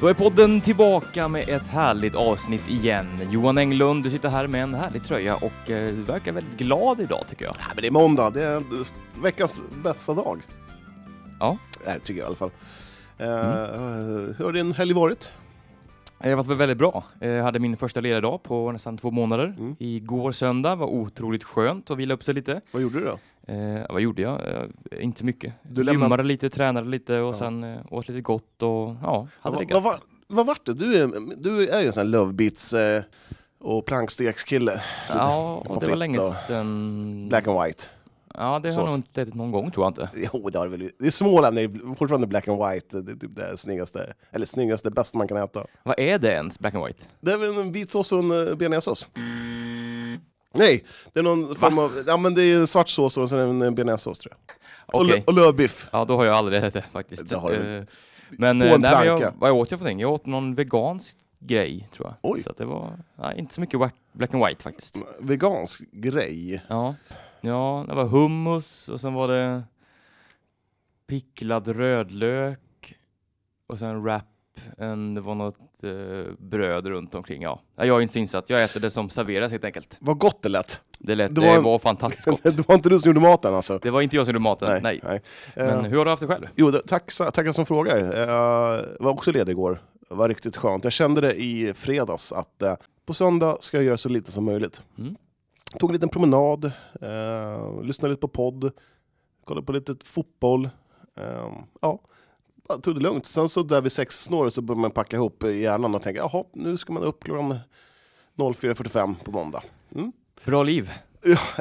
Då är podden tillbaka med ett härligt avsnitt igen. Johan Englund, du sitter här med en härlig tröja och eh, du verkar väldigt glad idag tycker jag. Ja, men det är måndag, det är veckans bästa dag. Ja. Det här tycker jag i alla fall. Eh, Hur har din helg varit? Det har varit väldigt bra. Jag Eh, hade min första lediga dag på nästan två månader. Mm. Igår söndag var otroligt skönt att vila upp sig lite. Vad gjorde du då? Eh, vad gjorde jag? Eh, inte mycket. Du Du lämnade- Gymmade lite, tränade lite och Ja. sen eh, åt lite gott och ja, hade det Vad- gött. vad, vad, vad vart det? Du är, du är ju en sån här love beats eh, och Mm. plankstekskille. Ja, och det var fritt länge och- sedan. Black and white. Ja, det har jag sås. nog inte ätit någon gång tror jag inte. Jo, det har det väl. Det är Småland, det är fortfarande black and white. Det är typ det snyggaste, eller snyggaste, bästa man kan äta. Vad är det ens, black and white? Det är väl en vit sås och en eh, bearnaisesås. Nej, det är någon form av... Ja, men det är en svart sås och sen en eh, bearnaisesås tror jag. Och, Okej. lö- och lövbiff. Ja, då har jag aldrig ätit det faktiskt. Det har du väl. Eh, Men, På eh, en nej, men jag, planka. vad jag åt jag för någonting? Jag åt någon vegansk grej tror jag. Oj. Mm. Så att det var nej, inte så mycket wa- black and white faktiskt. Vegansk grej. Ja. ja, det var hummus och sen var det picklad rödlök och sen wrap. En, det var något eh, bröd runt omkring. Ja. Nej, Jag är inte så insatt. Jag äter det som serveras helt enkelt. Vad gott det lät. Det, lät, Det det, var var, en- fantastiskt gott. Det var inte du som gjorde maten alltså? Det var inte jag som gjorde maten. Nej. Eh, Men hur har du haft det själv? Jo, det- tack, så- tackar som frågar. Jag var också ledig igår. Det var riktigt skönt. Jag kände det i fredags att eh, på söndag ska jag göra så lite som möjligt. Mm. Tog en liten promenad, eh, lyssnade lite på podd, kollade på lite fotboll. Eh, ja, bara tog det lugnt. Sen så där vid sexsnåret så började man packa ihop hjärnan och tänka jaha, nu ska man upp klockan 04.45 på måndag. Bra liv.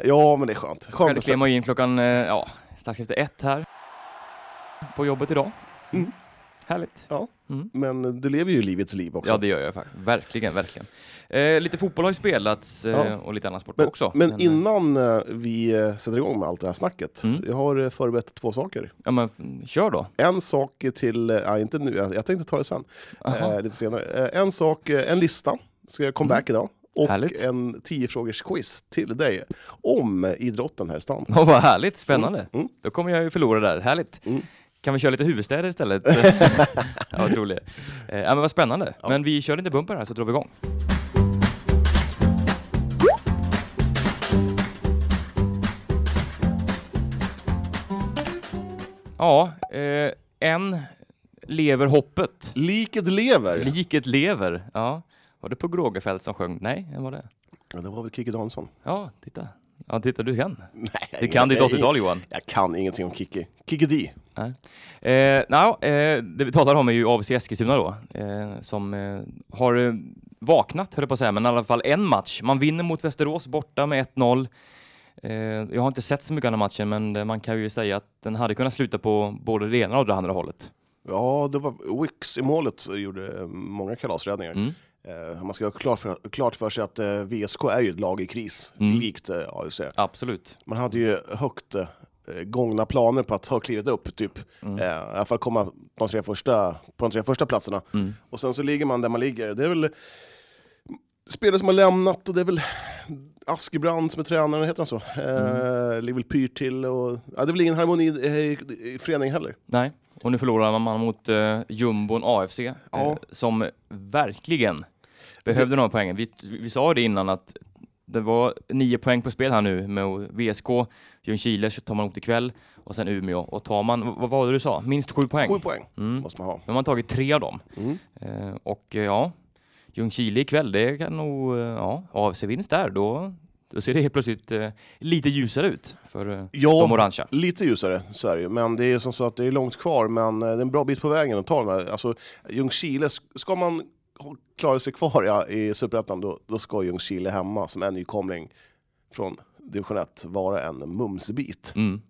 Ja, men det är skönt. skönt Själv att klev man ju in klockan, eh, ja, strax efter ett här. På jobbet idag. Mm. Härligt. Ja. Mm. Men du lever ju livets liv också. Ja, det gör jag faktiskt. Verkligen, verkligen. Eh, lite fotboll har ju spelats eh, Ja. och lite annan sport men, också. men eh, innan eh, vi eh, sätter igång med allt det här snacket. Mm. Jag har eh, förberett två saker. Ja, men f- kör då. En sak till, eh, ja, inte nu, jag, jag tänkte ta det sen, Aha. Mm. eh, lite senare. Eh, en sak, eh, en lista, ska jag comeback idag. Och Härligt. en 10 frågors quiz till dig om idrotten här i stan. Åh, vad härligt, spännande. Mm. Då kommer jag ju förlora där, härligt. Mm. Kan vi köra lite huvudstäder istället? ja, vad roligt. Eh, ja, men vad spännande. Men vi kör lite bumper här så drar vi igång. Ja, eh, en lever hoppet. Liket lever. Liket lever. Ja. Var det på Grågefält som sjöng? Nej, vem var det? ja, det var väl Kikki Danielsson? Ja, titta. Ja, titta, du kan. Nej, Du kan ditt nej, 80-tal Johan. Jag kan ingenting om Kikki. Kikki Dee. Eh, nå, eh, det vi talar om är ju AFC Eskilstuna då, eh, som eh, har eh, vaknat, höll jag på att säga, men i alla fall en match. Man vinner mot Västerås borta med 1-0. Eh, jag har inte sett så mycket av den här matchen, men eh, man kan ju säga att den hade kunnat sluta på både det ena och det andra hållet. Ja, det var Wicks i målet som gjorde eh, många kalasräddningar. Mm. Eh, man ska ha klart för, klart för sig att eh, VSK är ju ett lag i kris, Mm. likt eh, AFC. Absolut. Man hade ju högt eh, gångna planer på att ha klivit upp, typ. Mm. Eh, I alla fall komma de tre första, på de tre första platserna. Mm. Och sen så ligger man där man ligger. Det är väl spelare som har lämnat och det är väl Askebrand som är tränaren, heter han så? Mm. Eh, ligger väl pyrt till och... Ja, det är väl ingen harmoni i, i, i föreningen heller. Nej, och nu förlorar man mot eh, jumbon AFC, eh, Ja. som verkligen behövde de här poängen. Vi, vi sa ju det innan att det var nio poäng på spel här nu med VSK, Ljungskile så tar man upp ikväll och sen Umeå. Och tar man, vad vad var det du sa, minst sju poäng? Sju poäng Mm. måste man ha. Nu har man tagit tre av dem. Mm. Eh, och eh, ja, Ljungskile ikväll, det kan nog, eh, ja, AFC-vinst där, då, då ser det helt plötsligt eh, lite ljusare ut för eh, Ja, de orangea. Lite ljusare så är det ju, men det är ju som så att det är långt kvar, men eh, det är en bra bit på vägen att ta de här. Alltså, Ljungskile, sk- ska man ha- klara sig kvar ja, i Superettan, då, då ska Ljungskile hemma som en nykomling från division 1 vara en mumsbit. Mm.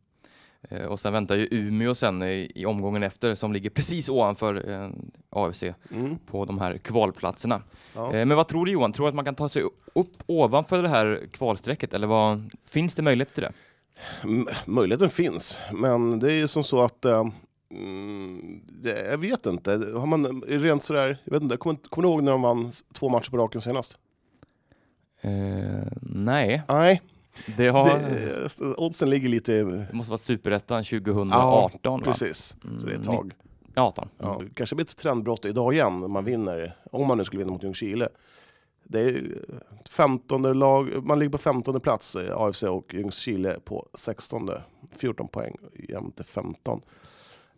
Eh, Och sen väntar ju Umeå sen i, i omgången efter som ligger precis ovanför eh, AFC Mm. på de här kvalplatserna. Ja. Eh, men vad tror du Johan, tror du att man kan ta sig upp ovanför det här kvalstrecket eller vad, finns det möjlighet till det? M- Möjligheten finns, men det är ju som så att eh, Mm, det, jag vet inte. Har man rent sådär, jag vet inte, kommer, kommer du ihåg när de vann två matcher på raken senast? Eh, nej, Nej, Det, har, det, Det, eh, oddsen ligger lite... måste varit superettan 2018 va? Precis, så det är ett Mm, tag. 18. Ja, det kanske blir ett trendbrott idag igen, när man vinner, om man nu skulle vinna mot Ljungskile. Det är ju 15 lag, man ligger på 15 plats, eh, AFC och Ljungskile på 16. 14 poäng jämte 15.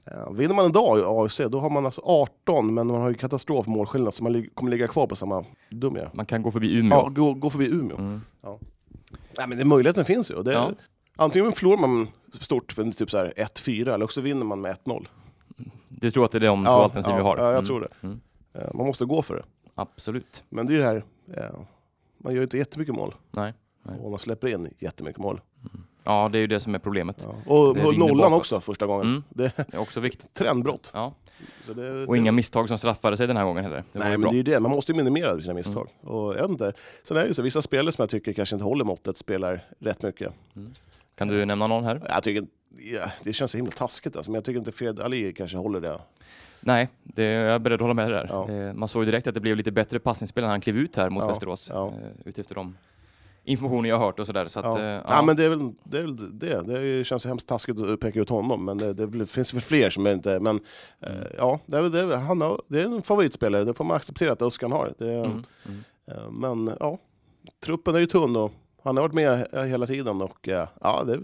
Eh, Vinner man idag i AFC, då har man alltså 18, men man har ju katastrof målskillnad, så man lig- kommer ligga kvar på samma dum jag. Man kan gå förbi Umeå. Ja, gå, gå förbi Umeå. Mm. Nej, men det, möjligheten finns ju. Det, Ja. Antingen förlorar man stort, men typ så här 1-4, eller också vinner man med 1-0. Du tror att det är de två Ja, alternativ vi ja, har? ja, jag tror det. Mm. Eh, Man måste gå för det. Absolut. Men det är ju det här, eh, man gör ju inte jättemycket mål. Nej, nej. Och man släpper in jättemycket mål. Ja, det är ju det som är problemet. Ja. Och Det höll vinner nollan bakåt. också första gången. Mm. Det är Det är också viktigt. trendbrott. Ja. Så det, Och inga misstag som straffade sig den här gången heller. Det var Nej, ju men bra. Mm. det är ju det. Man måste ju minimera sina misstag. Och jag vet inte. Sen är det ju så, vissa spelare som jag tycker kanske inte håller måttet spelar rätt mycket. Kan du nämna någon här? Jag tycker, ja, det känns så himla taskigt alltså, men jag tycker inte Fred Ali kanske håller det. Nej, det, jag är beredd att hålla med dig där. Ja. Eh, Man såg ju direkt att det blev lite bättre passningsspel när han klev ut här mot Ja, Västerås. ja. eh, Utifrån de informationer jag har hört och sådär. Så att, Ja. eh, Ja. men det är väl det. Är väl det. det känns hemskt taskigt att peka ut honom, men det, det blir- finns väl fler som är inte... Men Mm. eh, ja, det är, väl det, han har, det är en favoritspelare, det får man acceptera att Öskan har. Det, är- Mm, mm. eh, Men ja, truppen är ju tunn och han har varit med eh, hela tiden och eh, ja, det,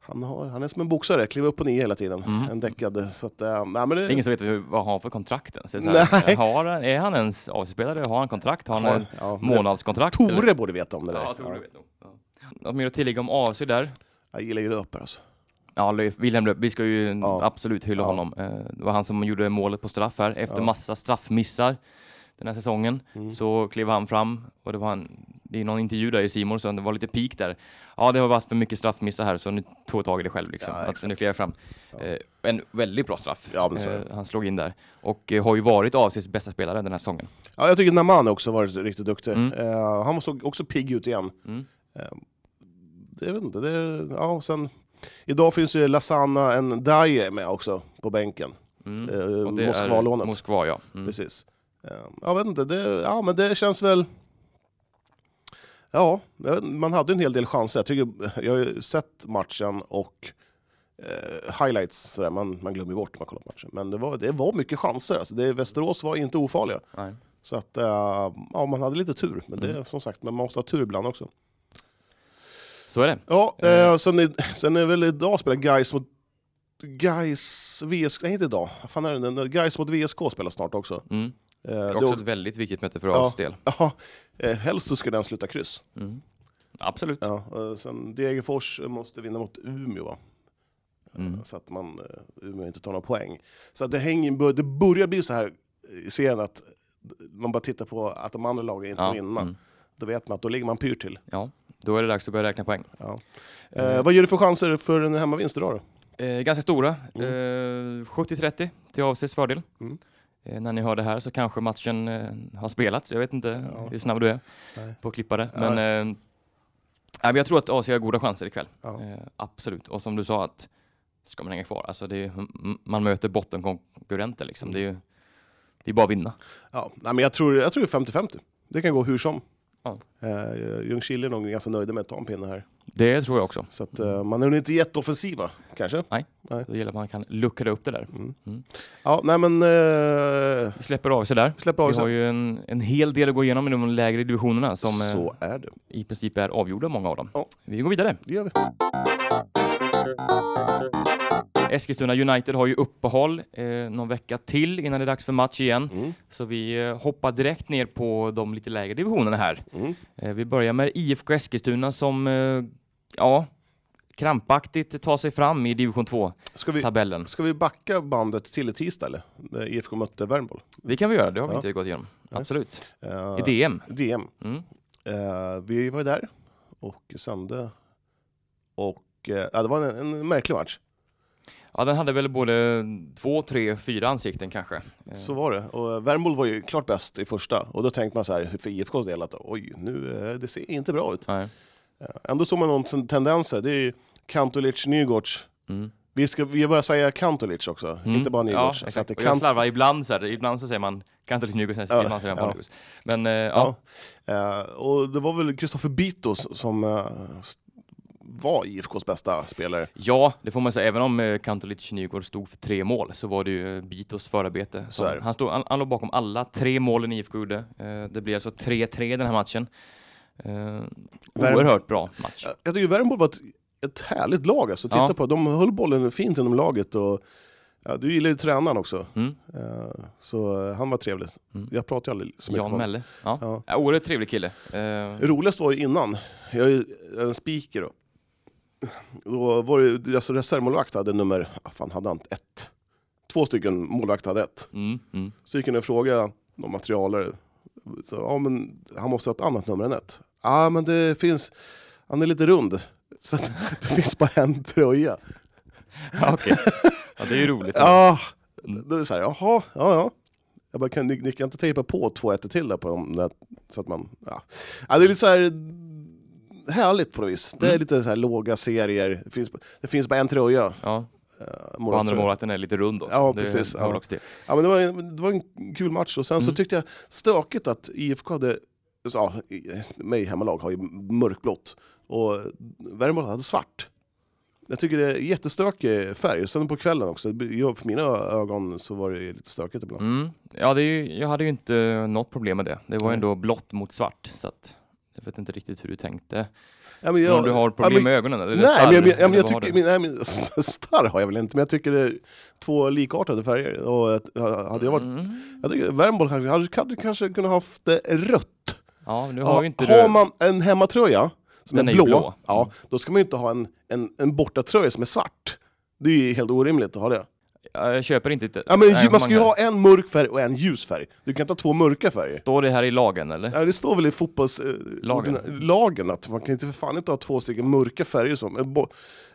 han, har, han är som en boxare, kliver upp och ner hela tiden. Mm. En däckad. Så att, eh, nej, men Det det, är ingen som vet hur- vad han har för kontrakt ens. Det är så här, Nej. Har han, är han ens avspelare? Har han kontrakt? Har han en ja, men- månadskontrakt? eller? Tore borde veta om det där. Ja, Tore vet nog. Ja. Något mer att tillägga om AFC där? Jag gillar ju löpare alltså. Ja, Löf- Wilhelm Löf, vi ska ju Ja. absolut hylla Ja. honom. Eh, Det var han som gjorde målet på straff här. Efter Ja. massa straffmissar den här säsongen Mm. så klev han fram och det var han, det är någon intervju där i Simon så det var lite peak där. Ja, det har varit för mycket straffmissar här så nu tog jag tag i det själv liksom. Ja, att exakt. nu klev jag fram. Ja. Eh, En väldigt bra straff. Ja, men så är Eh, Han slog in där och eh, har ju varit AFCs bästa spelare den här säsongen. Ja, jag tycker Naman också varit riktigt duktig. Mm. Eh, han såg också pigg ut igen. Mm. Eh, det, jag vet inte, det är, ja, och sen, idag finns ju Lasana en Daje med också på bänken. Mm. Eh, Och det är Moskvalånet. Moskva, ja. Mm. Precis. Eh, jag vet inte, det, ja, men det känns väl... Ja, jag vet inte, man hade en hel del chanser. Jag, tycker, jag har ju sett matchen och eh, highlights, sådär. Man, man glömmer ju bort när man kollar på matchen. Men det var, det var mycket chanser. Alltså, det, Västerås var inte ofarliga. Nej. Så att, eh, ja, man hade lite tur. Men Mm. det är som sagt, men man måste ha tur ibland också. Så är det. Ja, Eh. eh, sen, är, sen är väl idag spelar Gais mot Gais VSK, nej inte idag, Vad fan är det? Gais mot VSK spelar snart också. Mm. Eh, Det det är också är- ett väldigt viktigt möte för Ja. AFCs del. ja, eh, helst så ska den sluta kryss. Mm. Absolut. Ja, eh, sen Degerfors måste vinna mot Umeå va? Mm. så att man, eh, Umeå inte tar några poäng. Så att det, hänger, det börjar bli så här i serien att man bara tittar på att de andra lagen inte får vinna. mm. Då vet man att då ligger man pyrt till. Ja, då är det dags att börja räkna poäng. Ja. Mm. Eh, vad ger du för chanser för en hemmavinst idag då? Eh, ganska stora. Eh, 70-30 till AFCs fördel. Mm. Eh, när ni hör det här så kanske matchen eh, har spelats. Jag vet inte Ja. hur snabb du är Nej. på att klippa det. Ja. Men, eh, nej, men jag tror att AC har goda chanser ikväll. Ja. Eh, absolut. Och som du sa, att ska man hänga kvar? Alltså det är, ju- m- man möter bottenkonkurrenter Mm. liksom. Det är ju det är bara att vinna. Ja, nej, men jag, tror, jag tror det är 50-50. Det kan gå hur som. Ja. Eh, Ljungskile är nog ganska nöjda med att ta en pinne här. Det tror jag också. Så att, eh, man är nog inte jätteoffensiva, kanske. Då gäller det att man kan luckra upp det där. Ja, nej men... Eh, Vi släpper av sig där. släpp av Vi har sen. ju en, en hel del att gå igenom i de lägre divisionerna som eh, Så är det. i princip är avgjorda, många av dem. Ja. Vi går vidare. Det gör vi. Eskilstuna United har ju uppehåll eh, någon vecka till innan det är dags för match igen. Mm. Så vi eh, hoppar direkt ner på de lite lägre divisionerna här. Mm. Eh, vi börjar med IFK Eskilstuna som, eh, ja, krampaktigt tar sig fram i division 2-tabellen. Ska, vi, ska vi backa bandet till i tisdag eller? När IFK mötte Värmboll. Det kan vi göra, det har vi Ja. inte gått igenom. Nej. Absolut. Eh, I DM. DM. Mm. Eh, vi var ju där och sände. Och eh, ja, det var en, en märklig match. Ja, den hade väl både två, tre, fyra ansikten kanske. Eh, Så var det. Och eh, Värmboll var ju klart bäst i första. Och då tänkte man så här, för IFKs del, att oj, nu, eh, det ser inte bra ut. Nej. Ändå såg man någon ten- tendenser. Det är ju Kantulic, Nygårds. Mm. Vi, ska, vi börjar säga Kantolic också, Mm. inte bara Nygårds. Ja, så att exakt. det Och jag kan, slarvar ibland så här. Ibland så säger man Kantelic Nygårds, sen Ja, ibland säger man ja. ja. Nygårds. Men eh, ja. eh, och det var väl Kristoffer Bito s- som eh, s- var IFKs bästa spelare. Eh, ja, det får man säga. Även om eh, Kantelic Nygårds stod för tre mål så var det ju eh, Bitos förarbete. Så som- är det. Han, stod, han, han låg bakom alla tre målen IFK gjorde. Eh, det blir alltså 3-3 den här matchen. Eh, oerhört bra match. Eh, Jag tycker Värmbo var ett, ett härligt lag alltså, att titta Ja. på. De höll bollen fint inom laget. Och, ja, du gillar ju tränaren också, Mm. eh, så eh, han var trevlig. Mm. Jag pratar ju aldrig så mycket Jan om honom. Melle. Ja. Ja. Ja, oerhört trevlig kille. Eh, Roligast var ju innan, jag är ju en speaker då. Då var det, deras reservmålvakt hade nummer, ah, fan hade han ett? Två stycken målvakter hade ett. mm, mm. Så gick jag ner och frågade någon materialare. Så, ja, men han måste ha ett annat nummer än ett. Ja, men det finns... Han är lite rund. Så att, det finns bara en tröja. Ja, Okej. Ja, det är ju roligt. Ja, då är det så här, jaha, ja, ja. Jag bara, kan, ni, ni kan inte tejpa på två ettor till där på dem? Där, så att man, ja. ja. Det är lite så här härligt på något vis. Det är Mm. lite så här låga serier. Det finns, det finns bara en tröja. Ja, och eh, andra målvaktströja. målvakten är lite rund också. Ja, Det precis, ja. hör också till. Ja, men det, var en, det var en kul match och sen så Mm. tyckte jag stökigt att IFK hade, så, ja, i- mig hemmalag har ju mörkblått och Värmbo hade svart. Jag tycker det är jättestökig färg, sen på kvällen också. Jag, för mina ögon så var det ju lite stökigt ibland. Mm. Ja, det är ju, jag hade ju inte något problem med det. Det var ju ändå blått mot svart, så att jag vet inte riktigt hur du tänkte. Ja, men Men om du har problem ja, men, med ögonen eller Nej, men, jag, men, jag, men jag eller vad tycker, har du? men, nej, men, starr har jag väl inte, men jag tycker det är två likartade färger. Och, att- hade jag varit, Mm. jag tycker Värmbo hade, hade kanske kunnat haft det rött Ja, men nu Ja, har ju inte har du... man en hemmatröja som Den är, är ju blå, blå. Ja, Mm. då ska man ju inte ha en, en, en bortatröja som är svart. Det är ju helt orimligt att ha det. Ja, Jag köper inte... ett- Ja, men, nej, ju- man ska ju många- ha en mörk färg och en ljus färg. Du kan inte ha två mörka färger. Står det här i lagen eller? Ja, det står väl i fotbolls... eh, Lagen. ordina- lagen att man kan inte för fan inte ha två stycken mörka färger som... eh, bo-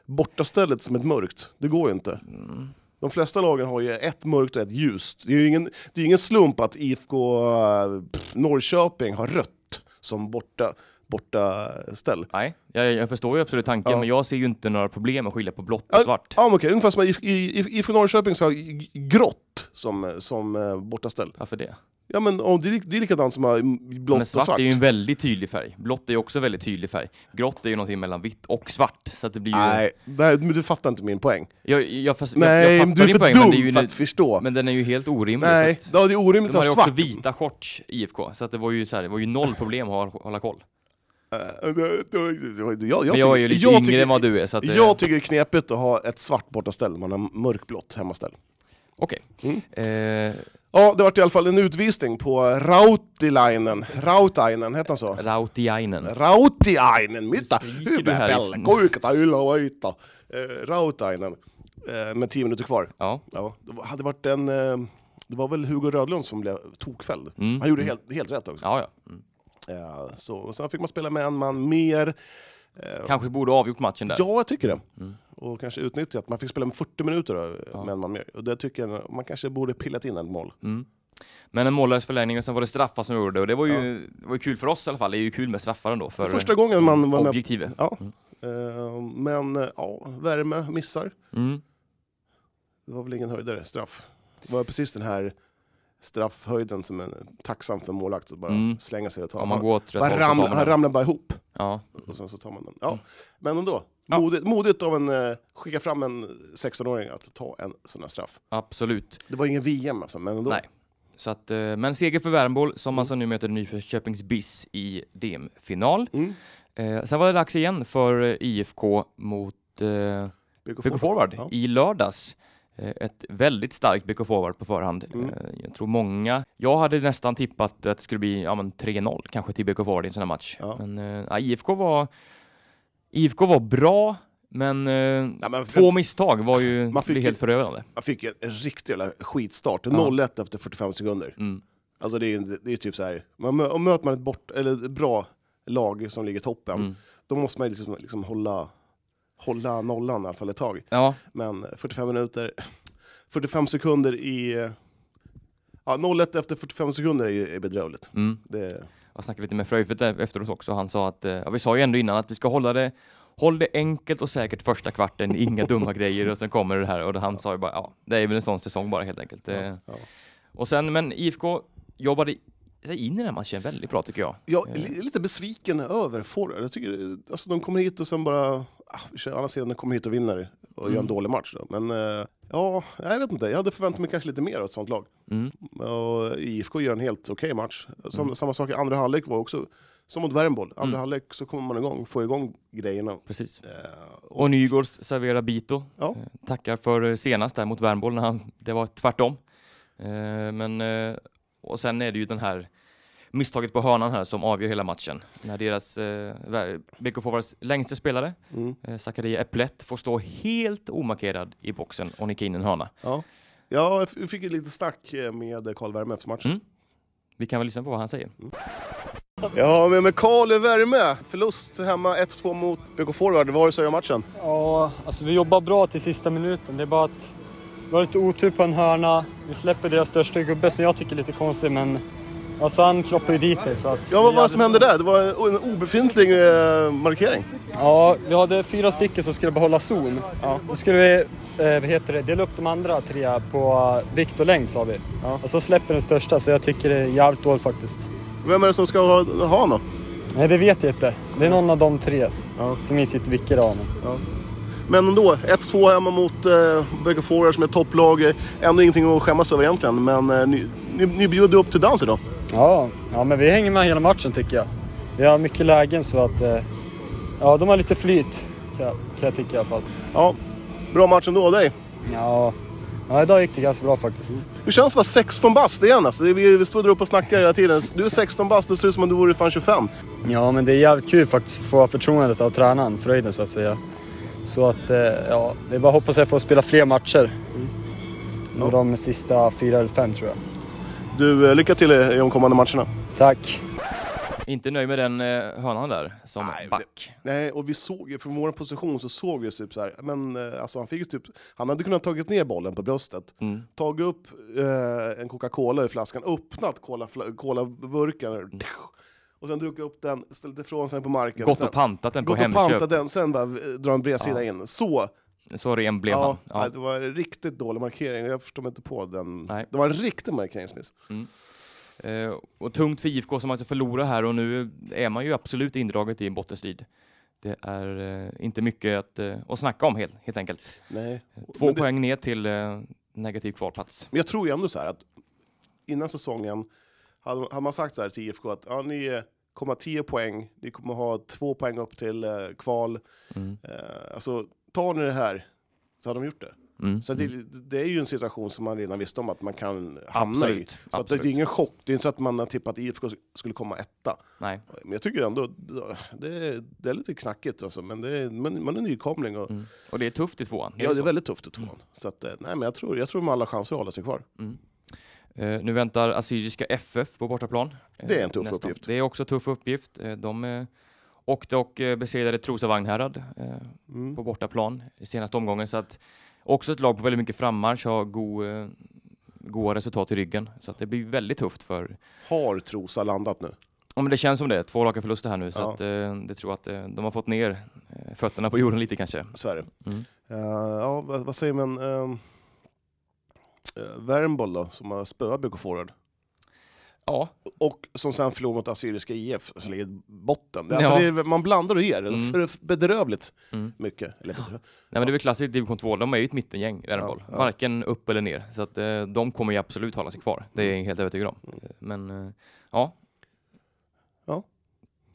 Bortastället som ett mörkt, det går ju inte. Mm. De flesta lagen har ju ett mörkt och ett ljust. Det är ju ingen, det är ju ingen slump att IFK eh, pff, Norrköping har rött som borta, borta ställ. Nej, jag, jag förstår ju absolut tanken, Ja. men jag ser ju inte några problem att skilja på blått och Ja, svart. Ja, men okej. Ungefär som i, i, i, ifrån Norrköping så har g- grått som, som eh, bortaställ. Varför det? Ja, men och det, är, lik- det är likadant som eh, blått Men svart, och svart. är ju en väldigt tydlig färg. Blått är ju också en väldigt tydlig färg. Grått är ju någonting mellan vitt och svart. Så att det blir ju... Nej, det här, men du fattar inte min poäng. Jag, jag, fast, jag, Nej, jag men fattar du är din för poäng, men, det är dum ju, för att förstå. men den är ju helt orimlig. för Nej, att- ja, det är orimligt De att hade ha ju svart. också vita shorts, IFK, så att det var ju så här, det var ju noll problem att ha- hålla koll. Eh, det- det- det- det- Jag, jag Men jag är ju tycker- lite jag yngre tycker- än vad du är, så att... eh, Jag tycker det är knepigt att ha ett svart bortaställ när man har mörkblått hemmaställ. Okej. Mm. Eh, Ja, det vart i alla fall en utvisning på Rautilainen. Rautainen, hette han så? Rautiainen. Rautiainen, mitä? Skriker du Hyvä här Pelle, ifrån? kuikata yläoita. Eh, Rautainen, eh, med 10 minuter kvar. Ja. Ja, det var- hade varit en... Eh, det var väl Hugo Rödlund som blev tokfälld. Mm. Han gjorde helt, helt rätt också. Ja, ja. Mm. Eh, så, och sen fick man spela med en man mer. Eh, Kanske borde ha avgjort matchen där. ja, jag tycker det. Mm. Och kanske utnyttja att man fick spela med 40 minuter då, Ja. med en man mer. Och det tycker jag man kanske borde pillat in ett mål. Mm. Men en mållös förlängning och sen var det straffar som gjorde det och det var ju det var ju kul för oss i alla fall. Det är ju kul med straffar ändå för Första gången man var med. objektivet. Ja. Mm. Eh, men eh, ja, värme missar. Mm. Det var väl ingen höjdare, straff. Det var precis den här straffhöjden som är tacksam för målvakt att bara Mm. slänga sig och ta. Om man Han, går åt rätt håll så bara tar ramla, man han den. ramlar bara ihop Ja. och sen så tar man den. Ja. Mm. Men ändå, Ja. modigt, modigt av en, eh, skicka fram en 16-åring att ta en sån här straff. Absolut. Det var ingen VM alltså, men ändå. Nej. Så att, eh, men seger för Värmbo Mm. som alltså nu möter Nyköpings BIS i DM-final. Mm. Eh, sen var det dags igen för eh, IFK mot eh, BK BK Forward Ja. i lördags. Eh, Ett väldigt starkt BK Forward på förhand. Mm. Eh, Jag tror många... Jag hade nästan tippat att det skulle bli ja, men 3-0 kanske till BK Forward i en sån här match. Ja. Men eh, ja, IFK var... IFK var bra, men, eh, Ja, men två misstag var ju Man fick blev helt förödande. Jag fick en riktig jävla skitstart. Ja. 0-1 efter 45 sekunder. Mm. Alltså det är, det är typ så här, man, mö- om möter man ett, bort, eller ett bra lag som ligger i toppen, Mm. då måste man ju liksom, liksom hålla, hålla nollan i alla fall ett tag. Ja, Men 45 minuter, 45 sekunder i... Ja, 0-1 efter 45 sekunder är ju är bedrövligt. mm. Det, Jag snackade lite med Fröjfelt där efteråt också. Han sa att, eh, ja, vi sa ju ändå innan att vi ska hålla det, håll det enkelt och säkert första kvarten, inga dumma grejer och sen kommer det här. Och då han sa ju bara, ja, det är väl en sån säsong bara helt enkelt. Eh, ja. Och sen, men IFK jobbade sig in i den här matchen väldigt bra tycker jag. Jag är li- lite besviken över Forward. Jag tycker, alltså, de kommer hit och sen bara... Ah, vi kör andra sidan, de kommer hit och vinner och gör en dålig match. Då. Men eh, ja, jag vet inte. Jag hade förväntat mig kanske lite mer av ett sånt lag. Mm. Och IFK gör en helt okej match. Som, Samma sak i andra halvlek var också, som mot Värmboll. Andra Mm. halvlek så kommer man igång, får igång grejerna. Precis. Eh, och, Och Nygårds serverar Bito. Ja. Eh, Tackar för eh, senast där mot Värmboll när han, det var tvärtom. Eh, Men, eh, och sen är det ju den här misstaget på hörnan här som avgör hela matchen. När deras eh, vär- BK Forwards längsta spelare, mm, eh, Zakaria Epplett, får stå helt omarkerad i boxen och nicka in en hörna. ja. ja, jag f- fick ju lite snack eh, med Karl Värme efter matchen. Mm. Vi kan väl lyssna på vad han säger. Jag har med mig Karl i Värme. Förlust hemma 1-2 mot BK Forward. Vad har du att säga om matchen? Ja, alltså vi jobbar bra till sista minuten. Det är bara att vi har lite otur på en hörna. Vi släpper deras största gubbe som jag tycker är lite konstig, men alltså han kloppar ju dit det. Så att Ja, vad var det som hände där? Det var en obefintlig eh, markering. Ja, vi hade fyra stycken som skulle behålla zon. Ja. Då skulle vi, eh, vad heter det, dela upp de andra tre på vikt och längd sa vi. Ja. Och så släpper den största, så jag tycker det är jävligt dåligt faktiskt. Vem är det som ska ha, ha nå? Nej, det vet jag inte. Det är någon av de tre Ja. som vi sitter vilka av nu. Men ändå, 1-2 hemma mot eh, BK Forward som är ett topplag. Eh, Ändå ingenting att skämmas över egentligen, men eh, ni, ni, ni bjöd upp till dans idag. Ja, ja, men vi hänger med hela matchen tycker jag. Vi har mycket lägen så att... eh, Ja, de har lite flyt kan jag, kan jag tycka i alla fall. Ja, bra match ändå av dig. Ja, ja, idag gick det ganska bra faktiskt. Hur känns det att vara 16 bast igen? Alltså, Det- vi, vi stod där uppe och snackade hela tiden. Du är 16 bast, det ser ut som om du vore fan 25. Ja, men det är jävligt kul faktiskt att få förtroendet av tränaren, Fröjden så att säga. Så att, eh, ja, det är bara att hoppas jag får spela fler matcher. Ja. Mm. De sista fyra eller fem tror jag. Du, eh, lycka till i i de kommande matcherna. Tack! Inte nöjd med den eh, hörnan där som Nej, det- back. Nej, och vi såg ju från vår position så såg vi typ så här, men eh, alltså han fick ju typ, han hade kunnat tagit ner bollen på bröstet, Mm. tagit upp eh, en Coca-Cola i flaskan, öppnat cola- fla- Cola-burken och sen druckit upp den, ställt ifrån sig på marken. Mm. Gått sen, och pantat den på gått och Hemköp. pantat den, sen bara eh, dra en bredsida in. Så! Så ren blev Ja, han. nej, Ja. Det var en riktigt dålig markering, jag förstår mig inte på den. Nej. Det var en riktig markeringsmiss. Eh, och tungt för IFK som alltså förlorar här och nu är man ju absolut indraget i en bottenstrid. Det är eh, inte mycket att, eh, att snacka om helt, helt enkelt. Nej. Två Men det- poäng ner till eh, negativ kvalplats. Men jag tror ju ändå så här att innan säsongen hade, hade man sagt så här till IFK att ja, ni kommer ha 10 poäng, ni kommer ha två poäng upp till eh, kval. Mm. Eh, alltså, tar ni det här så hade de gjort det. Mm. Så det, det är ju en situation som man redan visste om att man kan hamna i. Absolut. Så att det absolut. är ingen chock, det är inte så att man har tippat IFK skulle komma etta. Nej. Men jag tycker ändå, det är, det är lite knackigt alltså, men det är, man, man är nykomling och Mm. Och det Mm. är tufft i tvåan. ja, det är så. väldigt tufft i tvåan. Så att, eh, nej, men jag tror, jag tror de har alla chanser att hålla sig kvar. Eh, nu väntar Assyriska FF på bortaplan. Eh, Det är en tuff uppgift. Det är också en tuff uppgift. Eh, de eh, åkte och eh, besegrade Trosa Vagnhärad eh, Mm. på bortaplan i senaste omgången. Så att också ett lag på väldigt mycket frammarsch har god, eh, goda resultat i ryggen. Så att det blir väldigt tufft för... Har Trosa landat nu? Ja, men det känns som det. Två raka förluster här nu. Så Ja. att, eh, det tror jag att eh, de har fått ner eh, fötterna på jorden lite kanske. Så är det. Mm. Eh, ja, vad, vad säger man? Uh, Värmboll då, som har spöat BK Forward. Ja, Och som sen förlorade mot Assyriska IF, som ligger i botten. Det, alltså, Ja. det är, man blandar och ger, Mm. för bedrövligt Mm. mycket. Eller, bedrö- Nej, men det är väl klassiskt i division 2. De är ju ett mittengäng, Värmboll. Ja, ja. Varken upp eller ner. Så att, eh, de kommer ju absolut hålla sig kvar. Det är jag helt övertygad om. Mm. Men eh, ja,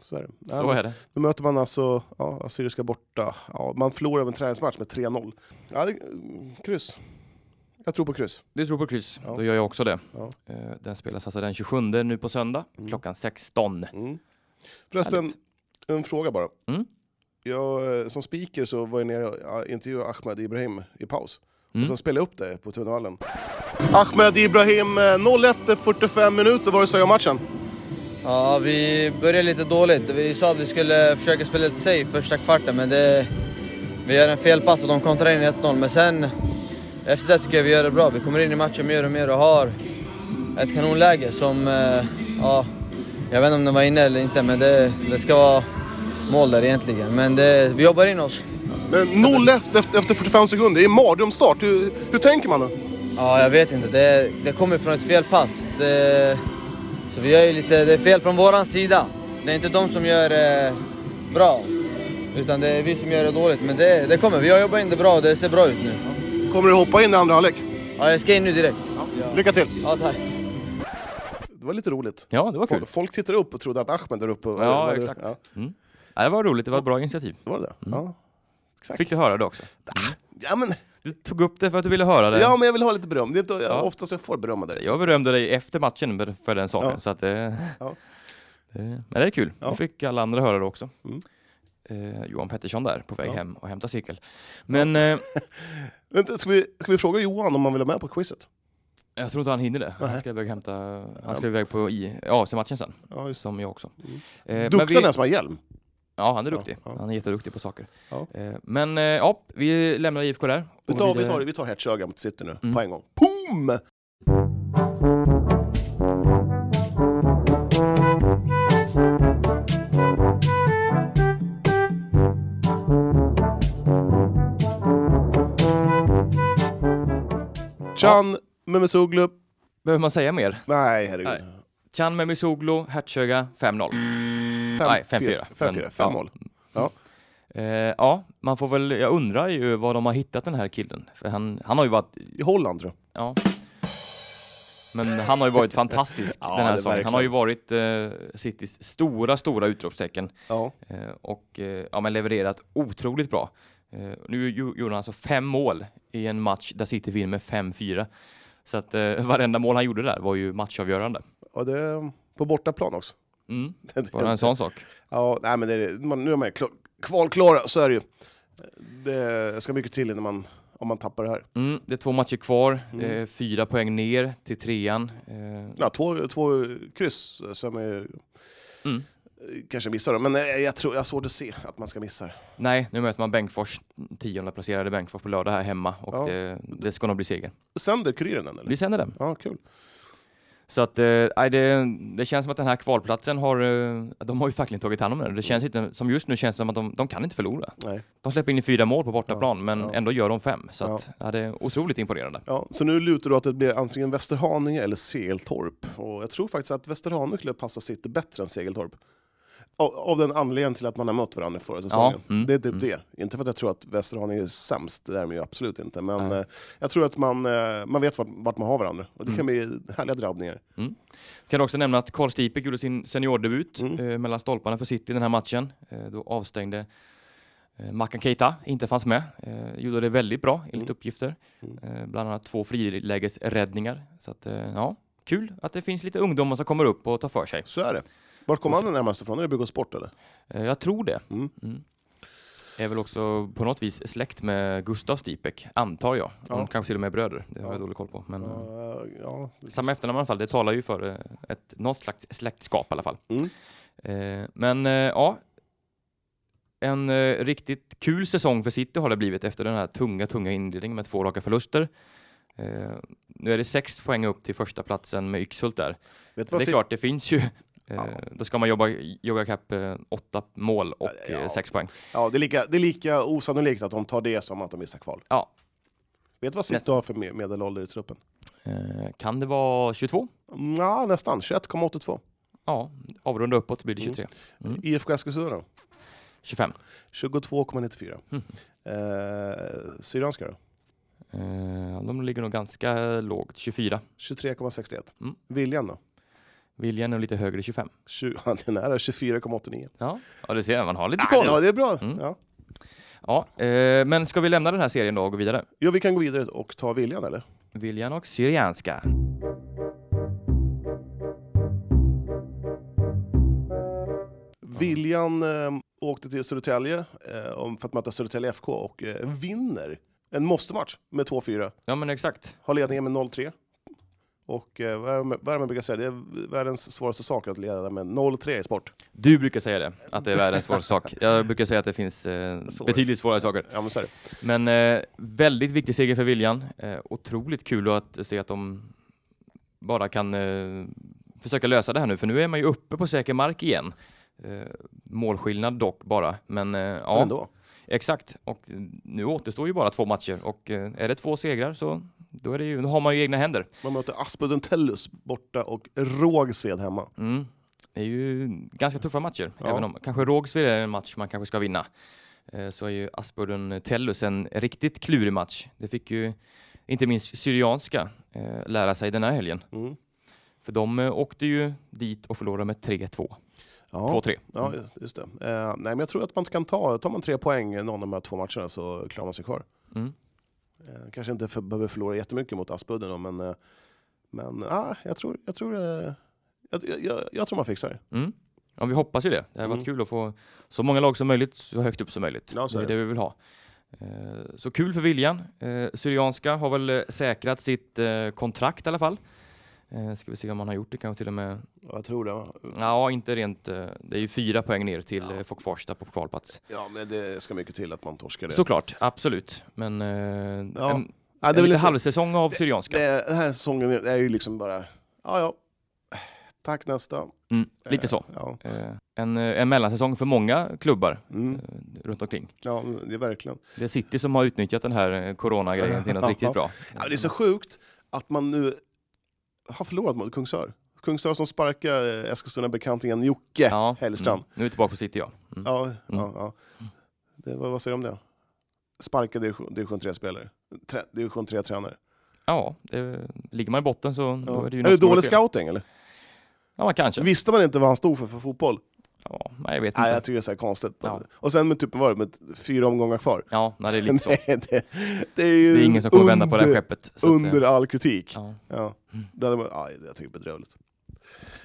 så är det. Ja, så är det. Då möter man alltså ja, Assyriska borta. Ja, man förlorar en träningsmatch med 3-0. Ja, det, mm, kryss. Jag tror på kryss. Du tror på kryss, Ja. då gör jag också det. Ja. Eh, Den spelas alltså den 27 nu på söndag Mm. klockan 16. Mm. Förresten, Härligt. en fråga bara. Mm. Jag, eh, som speaker så var jag nere och ja, intervjuade Ahmed Ibrahim i paus. Mm. Och sen spelade jag upp det på Tunavallen. Ahmed Ibrahim, eh, 0 efter 45 minuter. Vad du säger om matchen? Ja, vi började lite dåligt. Vi sa att vi skulle försöka spela lite safe första kvarten, men det, vi gör en felpass och de kontrar in 1-0. Men sen, efter det tycker jag vi gör det bra. Vi kommer in i matchen mer och mer och har ett kanonläge som, eh, ja, jag vet inte om den var inne eller inte, men det, det ska vara mål där egentligen. Men det, vi jobbar in oss. Men 0-1 efter, efter 45 sekunder, det är en mardrömsstart. Hur, hur tänker man då? Ja, jag vet inte. Det, det kommer från ett fel pass. Det, så vi gör ju lite, det är fel från våran sida. Det är inte de som gör eh, bra. Utan det är vi som gör det dåligt. Men det, det kommer. Vi har jobbat in det bra och det ser bra ut nu. Kommer du hoppa in i andra halvlek? Ja, jag ska in nu direkt. Lycka till! Ja, tack. Det var lite roligt. Ja, det var kul. Folk, folk tittade upp och trodde att Ahmed där uppe. eller Ja, vad det- exakt. Ja, Mm. Ja, det var roligt, det var ett bra initiativ. det var det ja. Exakt. Fick du höra det också? Ja, men, Du tog upp det för att du ville höra det. ja, men jag vill ha lite beröm. Det är inte Ja. oftast jag får beröm av dig. Jag berömde dig efter matchen för den saken, Ja. så att det... Ja. det men det är kul. Ja. Då fick alla andra höra det också. Mm. Eh, Johan Pettersson där, på väg Ja. hem och hämta cykel. Men eh, Vänta, ska, vi, ska vi fråga Johan om han vill vara med på quizet? jag tror inte han hinner det. Han Nej. ska iväg, hämta, han ska iväg på i- AC-matchen sen, Ja, just. som jag också. Mm. Eh, men Duktig vi- den som har hjälm. Ja, han är Ja, duktig. ja. Han är jätteduktig på saker. Ja. Eh, Men eh, ja, vi lämnar IFK där. Vi Och tar, vi vidare- tar, vi tar Hertsöga mot City nu, Mm. på en gång. POOM! Chan, Mehmetoglu. Behöver man säga mer? Nej, herregud. Nej. Chan Memisoglu, Hertsöga, 5-0. Fem- Nej, fem- fyra- fyra. Fem, Men- fyra, fem ja. mål. Eh, ja, man får väl, jag undrar ju var de har hittat den här killen. För han, han har ju varit, I Holland tror jag. ja. Men han har ju varit fantastisk Ja, den här det säsongen. Han verkligen. har ju varit eh, Citys stora, stora utropstecken. Ja. Eh, och eh, ja, men levererat otroligt bra. Eh, nu gjo- gjorde han alltså fem mål i en match där City vinner med 5-4. Så att eh, varenda mål han gjorde där var ju matchavgörande. Och det, på bortaplan också. Mm, Det- det- bara en sån sak. Ja, nej, men det är, man, nu är man ju klar- kvalklara, så är det ju. Det ska mycket till innan man, om man tappar det här. Mm, det är två matcher kvar, Mm. eh, fyra poäng ner till trean. Eh, Ja, två, två kryss som är, Mm. kanske missar det, men jag, jag, tror, jag har svårt att se att man ska missa det. Nej, nu möter man Bengtsfors, tionde placerade Bengtsfors på lördag här hemma och Ja. det, det ska nog bli seger. Sänder Kuriren den eller? Vi sänder den. Ja, kul. Så att, eh, nej, det, det känns som att den här kvalplatsen har, eh, de har ju verkligen tagit hand om den. Det känns inte, som just nu känns det som att de, de kan inte förlora. Nej. De släpper in fyra mål på bortaplan men ja. ändå gör de fem. Så att, ja. det är otroligt imponerande. Ja, så nu lutar du att det blir antingen Västerhaninge eller Segeltorp. Och jag tror faktiskt att Västerhaninge skulle passa City bättre än Segeltorp. Av, av den anledningen till att man har mött varandra förra säsongen. mm, Det är typ mm. det. Inte för att jag tror att Västerhaninge är sämst, det är de ju absolut inte. Men Nej. Mm. eh, jag tror att man, eh, man vet vart, vart man har varandra. Och det kan bli härliga drabbningar. Kan också nämna att Karl Stipek gjorde sin seniordebut Mm. eh, mellan stolparna för City den här matchen. Eh, då avstängde eh, Makan Keita, inte fanns med. Eh, gjorde det väldigt bra enligt Mm. uppgifter. Mm. Eh, bland annat två frilägesräddningar. Så att, eh, ja, kul att det finns lite ungdomar som kommer upp och tar för sig. Så är det. Vart kom han den närmaste ifrån? Är det Bygg Sport eller? Eh, jag tror det. Mm. Mm. Är väl också på något vis släkt med Gustav Stipek, antar jag. De Ja. kanske till och med är bröder, det har Ja. jag dålig koll på. Men, eh, Ja, ja. Samma efternamn i alla fall, det talar ju för eh, ett, något slags släktskap i alla fall. Mm. Eh, men eh, ja, en eh, riktigt kul säsong för City har det blivit efter den här tunga, tunga inledningen med två raka förluster. Eh, nu är det sex poäng upp till första platsen med Yxhult där. Vet du Det är vad City- klart, det finns ju. Eh, Ja. Då ska man jobba, jobba kapp eh, åtta mål och Ja. eh, sex poäng. Ja, det är, lika, det är lika osannolikt att de tar det som att de missar kval. Ja. Vet du vad City Nästan. har för me- medelålder i truppen? Eh, kan det vara 22? Ja, nästan. 21,82. Ja, avrunda uppåt blir det 23. Mm. IFK Eskilstuna då? 25. 22,94. Mhm. Eh, Syrianska då? Eh, de ligger nog ganska lågt, 24. 23,61. Mm. Viljan då? Viljan är lite högre, 25. 20, ja, det är nära 24,89. Ja, ja du ser, man har lite Ah, koll. Ja, det är bra. Mm. Ja. Ja, eh, men ska vi lämna den här serien då och gå vidare? Jo, vi kan gå vidare och ta Viljan eller? Viljan och Syrianska. Viljan eh, åkte till Södertälje eh, om- för att möta Södertälje FK och eh, vinner en måste-match med 2-4. Ja, men exakt. Har ledningen med 0-3. Och eh, vad är det man- vad är det man brukar säga, det är världens svåraste sak att leda med 0-3 i sport. Du brukar säga det, att det är världens svåraste sak. Jag brukar säga att det finns eh, Svårt. betydligt svårare saker. Ja, men så är det. Men eh, väldigt viktig seger för Viljan. Eh, otroligt kul att se att de bara kan eh, försöka lösa det här nu, för nu är man ju uppe på säker mark igen. Eh, målskillnad dock bara, men eh, Men ja, ändå. exakt. Och eh, nu återstår ju bara två matcher och eh, är det två segrar så då, är det ju, då har man ju egna händer. Man möter Aspudden Tellus borta och Rågsved hemma. Mm. Det är ju ganska tuffa matcher, Ja. även om kanske Rågsved är en match man kanske ska vinna. Eh, Så är ju Asbjörn Tellus en riktigt klurig match. Det fick ju inte minst Syrianska eh, lära sig den här helgen. Mm. För de eh, åkte ju dit och förlorade med 3-2. Ja. 2-3. Ja, just- just det. Eh, nej, men jag tror att man kan ta, tar man tre poäng i någon av de här två matcherna så klarar man sig kvar. Mm. Eh, kanske inte för, behöver förlora jättemycket mot Aspudden, då, men, eh, men ah, jag, tror, jag, tror, eh, jag, jag- jag, jag tror man fixar det. Mm. Ja, vi hoppas ju det. Det har varit Mm. kul att få så många lag som möjligt så högt upp som möjligt. Ja, så det är är det. det vi vill ha. Eh, Så kul för Viljan. Eh, Syrianska har väl eh, säkrat sitt eh, kontrakt i alla fall. Eh, Ska vi se om han har gjort det, kanske till och med Jag tror det. va? Ja, inte rent. eh, Det är ju fyra poäng ner till ja. Fokfarsta på kvalplats. Ja, men det ska mycket till att man torskar det. Såklart, absolut. Men eh, Ja, en, Ja, det, en är lite väl liksom, halvsäsong av Syrianska. det, den här säsongen är ju liksom bara, ja ja, tack nästa. mm, lite Eh, så. Ja, Eh, en, eh, en mellansäsong för många klubbar mm. eh, runt omkring. ja det är verkligen. Det är City som har utnyttjat den här eh, coronagrejen till något riktigt bra. Mm. Ja, men det är så sjukt att man nu har förlorat mot Kungsör. Kungsör som sparkar eh, Eskilstuna-bekantingen Jocke Ja, Hellstrand. Mm. Nu är vi tillbaka på City, ja. Mm. Ja, ja, ja. Det, vad, vad säger du om det? Sparkar division, division 3-spelare. Trä, division 3-tränare. Ja, det, ligger man i botten så då Ja. är det Är, ju det något som dålig fel. scouting eller? Ja, man kanske. Visste man inte vad han stod för för fotboll? Ja, nej, jag vet Nej, jag inte. tycker det är så här konstigt. Ja. Och sen med typ, vad var det, med fyra omgångar kvar? Ja, nej, det är lite så. Nej, det, det är ju Det är ingen som kommer under, vända på det här skeppet. Så att, eh, Under all kritik. Ja. ja. Det hade, man- aj, jag tycker det är bedrövligt.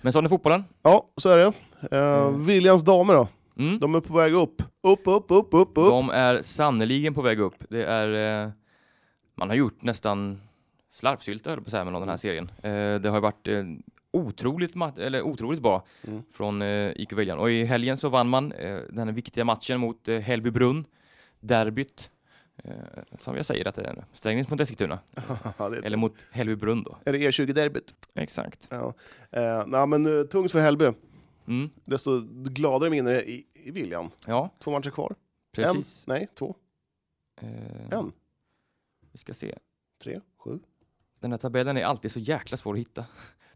Men sån är fotbollen. Ja, så är det. Eh, Mm. Viljans damer då? Mm. De är på väg upp. Upp, upp, upp, upp, upp. De är sannoliken på väg upp. Det är, eh, man har gjort nästan slarvsylta höll jag på att säga, med den här serien. Eh, det har ju varit eh, otroligt, mat- eller otroligt bra Mm. från eh, IK Viljan. Och i helgen så vann man eh, den här viktiga matchen mot eh, Hällbybrunn, derbyt. Eh, som jag säger att det är Strängnäs mot Eskilstuna, Ja, det, eller mot Hällbybrunn då. är det E20-derbyt? Exakt. Ja. Eh, nej, men eh, tungt för Hällby. Mm. Desto gladare minne i, i Viljan. Ja, Två matcher kvar. precis. En, nej, två. Eh, En, vi ska se. tre, sju. Den här tabellen är alltid så jäkla svår att hitta.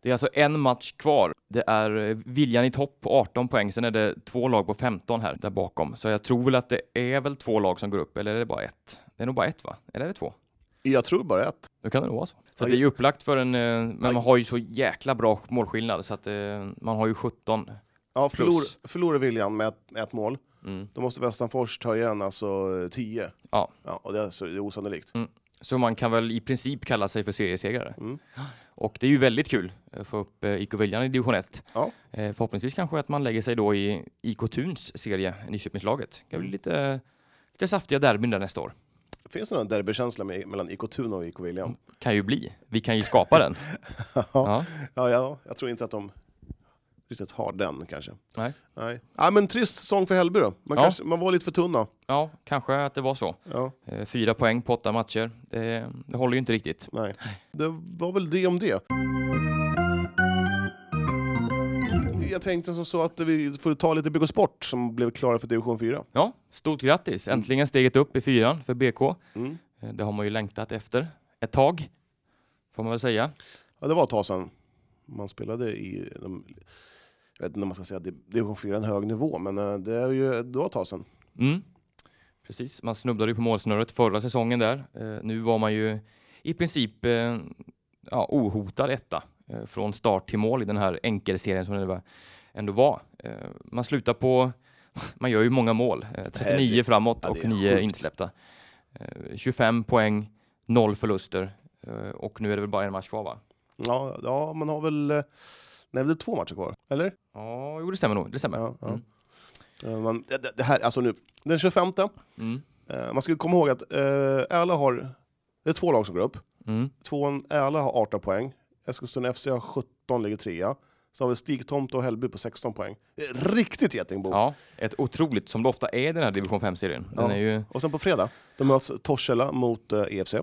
Det är alltså en match kvar. Det är eh, Viljan i topp på 18 poäng, sen är det två lag på 15 här där bakom. Så jag tror väl att det är väl två lag som går upp, eller är det bara ett? Det är nog bara ett va? Eller är det två? Jag tror bara ett. Då kan det nog vara så. Så Aj. det är ju upplagt för en, eh, men Aj. man har ju så jäkla bra målskillnad så att eh, man har ju 17. Ja, Plus. förlor, förlorar Viljan med ett, med ett mål, Mm. då måste Västanfors ta igen alltså eh, tio. Ja. ja och det är, så, det är osannolikt. Så man kan väl i princip kalla sig för seriesegrare. Mm. Och det är ju väldigt kul eh, att få upp eh, IK Viljan i division 1. Ja. Eh, Förhoppningsvis kanske att man lägger sig då i IK Tuns serie, Nyköpingslaget. Det kan bli lite, lite saftiga derbyn där nästa år. Finns det någon derbykänsla med, mellan IK Tuna och IK Viljan? Kan ju bli. Vi kan ju skapa den. Mm. Ja. Ja, ja, jag tror inte att de riktigt har den kanske. Nej. Nej. Ja, men trist säsong för Hällby då. Man, Ja. kanske, man var lite för tunna. ja, kanske att det var så. Ja, Eh, Fyra poäng på åtta matcher. Det, det håller ju inte riktigt. nej. Det var väl det om det. Jag tänkte som så att vi får ta lite BK Sport som blev klara för division 4. Ja, stort grattis! Äntligen steget upp i fyran för BK. Mm. Eh, Det har man ju längtat efter ett tag, får man väl säga. Ja, det var ett tag sedan man spelade i, de, jag vet inte om man ska säga di- division 4 är en hög nivå, men eh, det, är ju, det var ett tag sedan. Mm. Precis, man snubblade ju på målsnöret förra säsongen där. Eh, nu var man ju i princip eh, ja, ohotad etta eh, från start till mål i den här enkelserien som det var- ändå var. Eh, man slutar på, man gör ju många mål, eh, 39 Herregud. framåt Ja, det och är 9 sjukt. insläppta. Eh, 25 poäng, 0 förluster eh, och nu är det väl bara en match kvar va? Ja, ja man har väl... eh, Nej, det är två matcher kvar, eller? Ja, jo det stämmer nog. Det stämmer. Ja, ja. Mm. Eh, Man, det- det, det här, alltså nu, den 25 Mm. Eh, man ska komma ihåg att eh, Ärla har... Det är två lag som går upp. Mm. Tvåan Ärla har 18 poäng. Eskilstuna FC har 17, ligger trea. Sen har vi Stigtomta och Hällby på 16 poäng. Det är Riktigt getingbo! Ja, ett otroligt, som det ofta är i den här division 5-serien. Den Ja. är ju... Och sen på fredag, då möts Torshälla mot eh, EFC.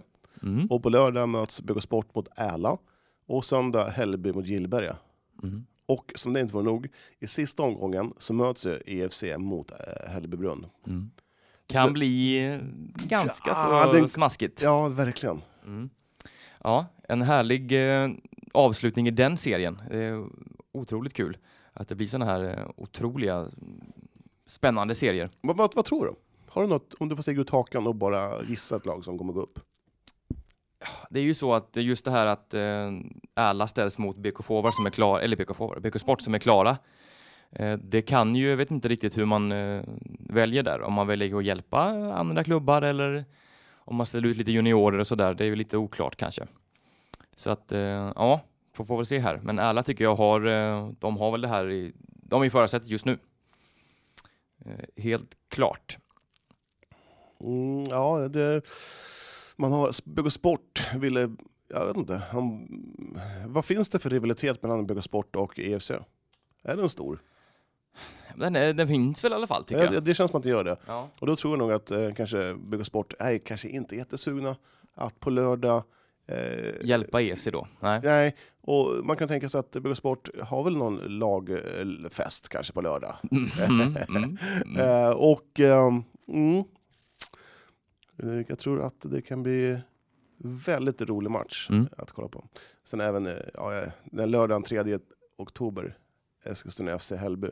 Mm. Och på lördag möts BK Sport mot Ärla. Och söndag Hällby mot Gillberga. Mm. Och som det inte var nog, i sista omgången så möts ju EFC mot eh, Hällbybrunn. Kan bli eh, ganska så Ja, den- smaskigt. Ja. Ja, verkligen. en härlig eh, avslutning i den serien. Det är otroligt kul att det blir sådana här eh, otroliga mm, spännande serier. Vad, vad, vad tror du? Har du något, om du får stiga ut hakan och bara gissa ett lag som kommer gå upp? Det är ju så att just det här att eh, alla ställs mot BK Forward som är klara, eller BK Forward, BK Sport som är klara. Eh, det kan ju, jag vet inte riktigt hur man eh, väljer där, om man väljer att hjälpa andra klubbar eller om man ställer ut lite juniorer och sådär, det är ju lite oklart kanske. Så att, eh, ja, får, får väl se här. Men alla tycker jag har, eh, de har väl det här i, de är i förarsätet just nu. Eh, helt klart. Mm, ja, det, man har Bygg och Sport ville, jag vet inte, han, vad finns det för rivalitet mellan Bygg och Sport och EFC? Är den stor? Den, är- eh, den finns väl i alla fall tycker Ja, det, jag. det känns som att det gör det. Ja. Och då tror jag nog att eh, kanske Bygg och Sport är kanske inte jättesugna att på lördag eh, Hjälpa EFC då? Nej. Nej, och man kan tänka sig att Bygg och Sport har väl någon lagfest kanske på lördag. Mm, mm, mm. Eh, och ehm, mm, Eh, jag tror att det kan bli väldigt rolig match Mm. att kolla på. Sen även eh, ja, eh, den lördagen 3 oktober, Eskilstuna FC Hällby.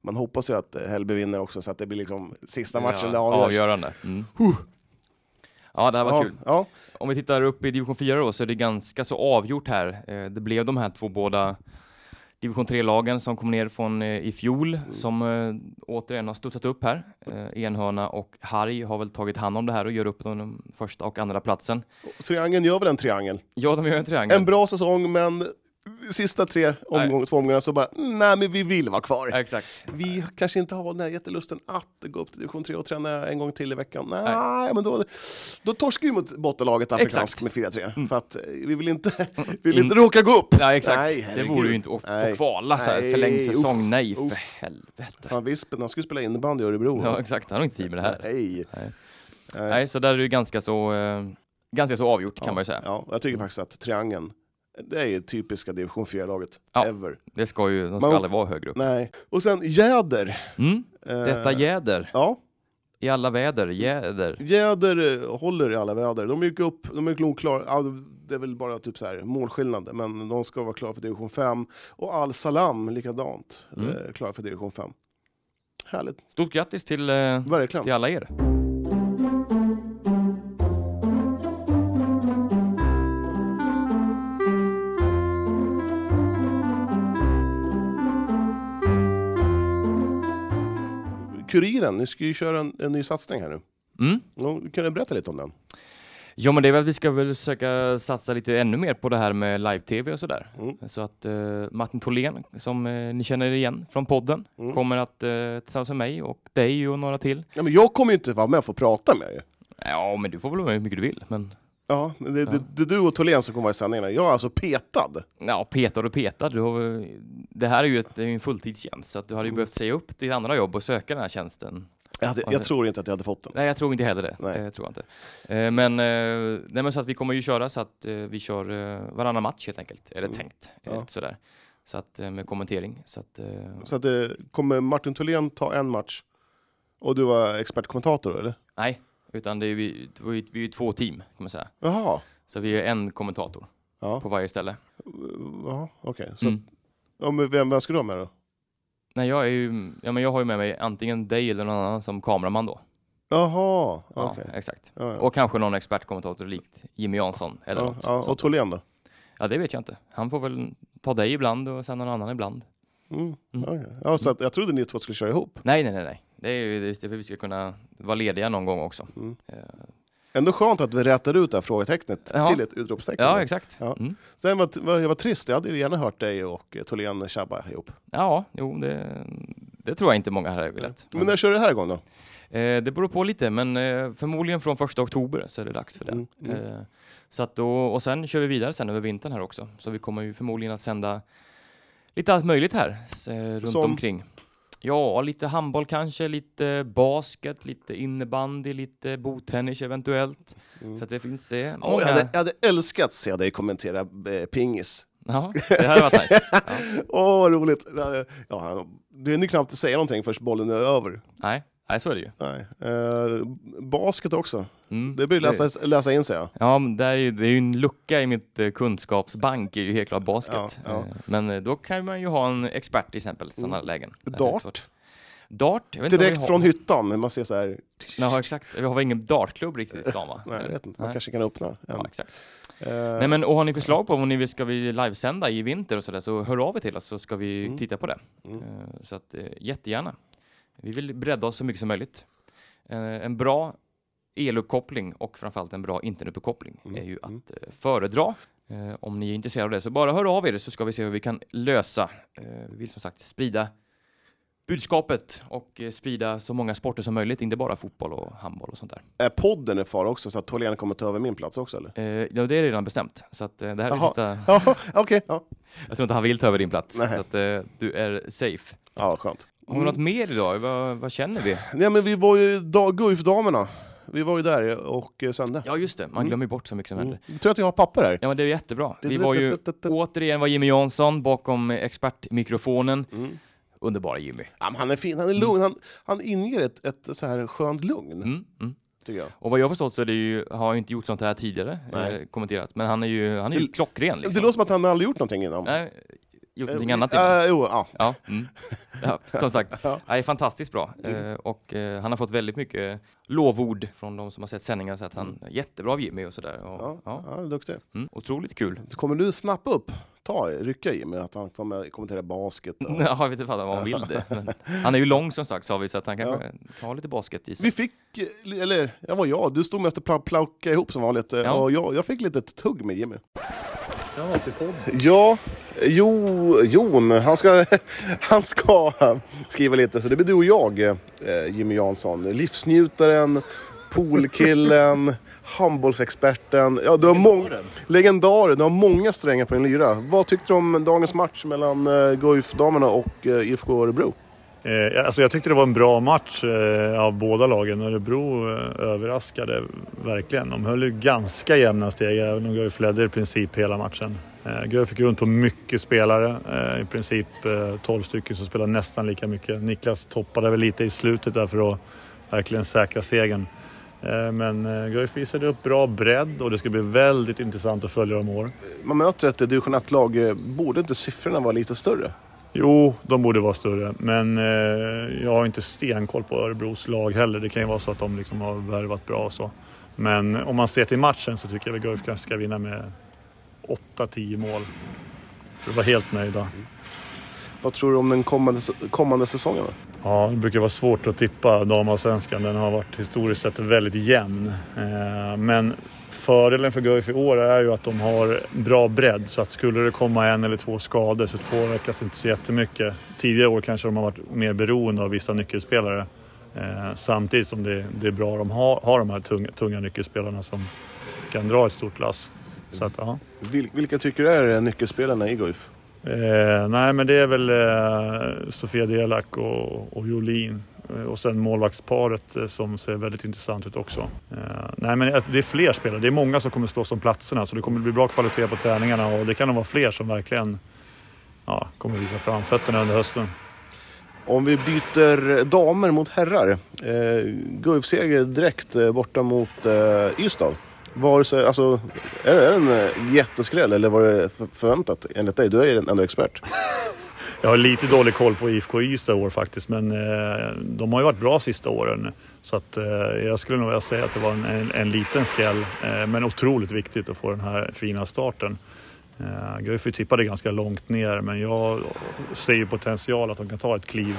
Man hoppas ju att eh, Hällby vinner också så att det blir liksom sista matchen det avgörs. avgörande. Mm. Ja, det här var ja, kul. Ja, Om vi tittar upp i division 4 då så är det ganska så avgjort här. Eh, Det blev de här två båda division 3-lagen som kom ner från eh, i fjol som eh, återigen har studsat upp här. Eh, Enhörna och Harg har väl tagit hand om det här och gör upp den första och andra platsen. och triangeln gör väl en triangel. Ja, de gör en triangel. En bra säsong men sista tre omgång, två omgångar så bara, nej men vi vill vara kvar. Exakt. Vi kanske inte har den här jättelusten att gå upp till division 3 och träna en gång till i veckan. Nej, men då, då torskar vi mot bottenlaget Afrikansk Exakt. Mm. med 4-3. För att eh, vi vill inte, vi vill inte råka gå upp. Ja, exakt. Nej, det herregud. vore ju inte att få Nej. kvala så här, Nej, förlängd uff, säsong. Nej, för uff. helvete. Fan, Vispen, han skulle spela innebandy i Örebro. Ja, exakt. Han har inte tid med det här. Nej. Nej. Nej. Nej, så där är det ju ganska så, eh, ganska så avgjort kan man ju säga. Eh. Ja, jag tycker faktiskt att triangeln, det är ju typiska division 4-laget. Ja. Ever. Det ska ju, de ska Man- aldrig vara högre upp. Nej. Och sen Jäder. Mm. Eh, Detta jäder, Ja, i alla väder, jäder. Jäder eh, håller i alla väder. De gick upp, de är nog klara, ja, det är väl bara typ så här målskillnader, men de ska vara klara för division 5. Och Al Salam likadant, Mm. eh, klara för division 5. Härligt, Stort grattis till, eh, verkligen. till alla er. Kuriren, ni ska ju köra en, en ny satsning här nu. Mm. Ja, Kan du berätta lite om den? Ja men det är väl att vi ska väl försöka satsa lite ännu mer på det här med live-tv och sådär. Mm. Så att eh, Martin Tholén, som eh, ni känner igen från podden, Mm. kommer att eh, tillsammans med mig och dig och några till. Ja, men jag kommer ju inte vara med och få prata med er. Ja men du får väl vara med hur mycket du vill. Men Ja, men det, det, det är du och Tholén som kommer vara i sändningarna. Jag är alltså petad. ja, petad och petad, du har, väl- det här är ju ett, det är ju en fulltidstjänst så att du Mm. hade ju behövt säga upp ditt andra jobb och söka den här tjänsten. Jag, hade, jag tror inte att jag hade fått den. Nej, jag tror inte heller det. Nej. Eh, Jag tror inte. Eh, Men, eh, nej, men så att vi kommer ju köra så att eh, vi kör eh, varannan match helt enkelt, är det tänkt. Eh, Mm. Ja. lite Sådär. Så att, eh, med kommentering. Så att, eh, Så att, eh, kommer Martin Tholén ta en match och du var expertkommentator, eller? nej, utan det är vi, det var ju- vi är ju två team kan man säga. Jaha. Så vi är en kommentator Ja. på varje ställe. Ja, okej. Så, Mm. ja, men vem, vem ska du ha med då? Nej, jag, är ju, ja, men jag har ju med mig antingen dig eller någon annan som kameraman då. Jaha, Ja, okej. exakt. Ja, ja. Och kanske någon expertkommentator likt Jimmy Jansson eller Ja, något. ja, och sånt. Tholén då? ja, det vet jag inte. Han får väl ta dig ibland och sen någon annan ibland. Mm. Mm. okej. Ja, så att, jag trodde ni två skulle köra ihop. Nej, nej, nej, nej. Det är ju det är för att vi ska kunna vara lediga någon gång också. Mm. Eh, Ändå skönt att vi rätar ut det här frågetecknet Ja. till ett utropstecken. Ja, exakt. Ja. Mm. Sen var, var, jag var trist, jag hade ju gärna hört dig och eh, Tholén tjabba ihop. ja jo, det, det tror jag inte många här har velat. Men när kör du det här igång då? Eh, det beror på lite, men eh, förmodligen från första oktober så är det dags för det. Mm, mm. Eh, så att då, och sen kör vi vidare sen över vintern här också. Så vi kommer ju förmodligen att sända lite allt möjligt här s- eh, runt Som? omkring. Ja, lite handboll kanske, lite basket, lite innebandy, lite botennis Mm. eventuellt. Så att det finns eh, många... Åh, jag, hade, jag hade älskat att se dig kommentera eh, pingis. Ja, det hade varit nice. Åh, vad roligt! Ja, han- du hinner knappt säga någonting förrän bollen är över. Nej, nej så är det ju. Nej. Eh, basket också. Mm. Det blir läsa, läsa in sig. Ja. Ja, men där är ju, det är ju en lucka i mitt eh, kunskapsbank, är ju helt klart basket. Ja, ja. Eh, Men eh, då kan man ju ha en expert till exempel i sådana lägen. Det är lite svårt. Dart, Dart? Jag vet inte om vi direkt har- från hyttan. Man ser så här... Ja, exakt. Vi har väl ingen dartklubb riktigt i stan va? Nej, jag vet inte. Man Nej. kanske kan öppna en. Ja, exakt. Eh, Nej, men, och har ni förslag på om ni vill, ska vi livesända i vinter och sådär så hör av er till oss så ska vi Mm. titta på det. Eh, Så att, eh, jättegärna. Vi vill bredda oss så mycket som möjligt. Eh, En bra eluppkoppling och framförallt en bra internetuppkoppling Mm. är ju att eh, föredra. Eh, Om ni är intresserade av det så bara hör av er så ska vi se hur vi kan lösa. Eh, Vi vill som sagt sprida budskapet och eh, sprida så många sporter som möjligt, inte bara fotboll och handboll och sånt där. Är podden i fara också, så att Tholén kommer ta över min plats också? Eller? Eh, Ja, det är redan bestämt. Så att eh, det här är det Jaha. sista Ja, okej. ja. Jag tror inte han vill ta över din plats, Nej. Mm. så att eh, du är safe. ja, skönt. Har vi något mer idag? Vad, vad känner vi? Nej, men vi var ju da- Guif-damerna. Vi var ju där och eh, sände. Ja, just det. Man glömmer ju bort så mycket som händer. Mm. Jag tror att jag har papper här. Ja, men det är jättebra. Vi var ju återigen var Jimmy Jansson bakom expertmikrofonen. Underbara Jimmy. Mm. Ja, men han är fin, han är lugn. Han, han inger ett, ett så här skönt lugn, Mm, mm. tycker jag. Och vad jag har förstått så är det ju, har han ju inte gjort sånt här tidigare, Nej. eh, kommenterat. Men han är ju, han är ju Det- klockren liksom. Det låter som att han aldrig gjort någonting innan. Nej, gjort någonting Eh, annat. eh, innan. jo, ja. Ja, mm. ja, som sagt. Nej, fantastiskt bra. Mm. Eh, och eh, han har fått väldigt mycket lovord från de som har sett sändningar. Så att han är jättebra av Jimmy och sådär. Och, Mm. Ja, ja. ja. han är duktig. Mm, otroligt kul. Kommer du snappa upp, ta, i, rycka i med att han får med kommentera basket? Och... Ja, jag vet inte fan vad han vill det. Men han är ju lång som sagt sa vi, så att han kanske har lite basket i sig. Vi fick, eh, eller jag var jag, du stod mest och pla- plaukade ihop som vanligt. eh, Ja. Och jag, jag fick lite tugg med Jimmy. Ja, till podden. Ja, jo, Jon, han ska, han ska skriva lite. Så det blir du och jag, eh, Jimmy Jansson. Livsnjutaren, poolkillen, handbollsexperten. Ja, du har mång- legendaren. Du har många strängar på din lyra. Vad tyckte du om dagens match mellan eh, Guif-damerna och eh, IFK Örebro? Eh, alltså jag tyckte det var en bra match eh, av båda lagen. Örebro eh, överraskade verkligen. De höll ju ganska jämna steg, även om Guif ledde i princip hela matchen. Eh, Guif fick runt på mycket spelare, eh, i princip eh, 12 stycken som spelade nästan lika mycket. Niklas toppade väl lite i slutet där för att verkligen säkra segern. Eh, men eh, Guif visade upp bra bredd och det ska bli väldigt intressant att följa dem i år. Man möter ett division 1-lag. eh, Borde inte siffrorna vara lite större? Jo, de borde vara större. Men eh, jag har inte stenkoll på Örebros lag heller. Det kan ju vara så att de liksom har värvat bra och så. Men om man ser till matchen så tycker jag väl Guif kanske ska vinna med 8-10 mål. För att vara helt nöjda. Vad tror du om den kommande, kommande säsongen? då? Ja, det brukar vara svårt att tippa damallsvenskan. Den har varit historiskt sett väldigt jämn. Eh, Men fördelen för Guif i år är ju att de har bra bredd. Så att skulle det komma en eller två skador så påverkas det inte så jättemycket. Tidigare år kanske de har varit mer beroende av vissa nyckelspelare. Eh, Samtidigt som det, det är bra att de har, har de här tunga, tunga nyckelspelarna som kan dra ett stort lass. Så att, ja. Vil- vilka tycker du är eh, nyckelspelarna i Guif? Eh, nej, men det är väl eh, Sofia Delak och, och Jolin. Eh, Och sen målvaktsparet eh, som ser väldigt intressant ut också. Eh, nej, men att det är fler spelare. Det är många som kommer slåss om platserna så det kommer bli bra kvalitet på träningarna och det kan nog vara fler som verkligen ja, kommer visa framfötterna under hösten. Om vi byter damer mot herrar. Eh, Guif-seger direkt eh, borta mot eh, Ystad. Var det, så- alltså, är det är det en eh, jätteskräll eller var det för- förväntat enligt dig? Du är ju ändå expert. Jag har lite dålig koll på IFK Ystad i år faktiskt, men eh, de har ju varit bra sista åren. Så att, eh, jag skulle nog vilja säga att det var en, en, en liten skäll, eh, men otroligt viktigt att få den här fina starten. Eh, Guif är tippade ganska långt ner, men jag ser ju potential att de kan ta ett kliv,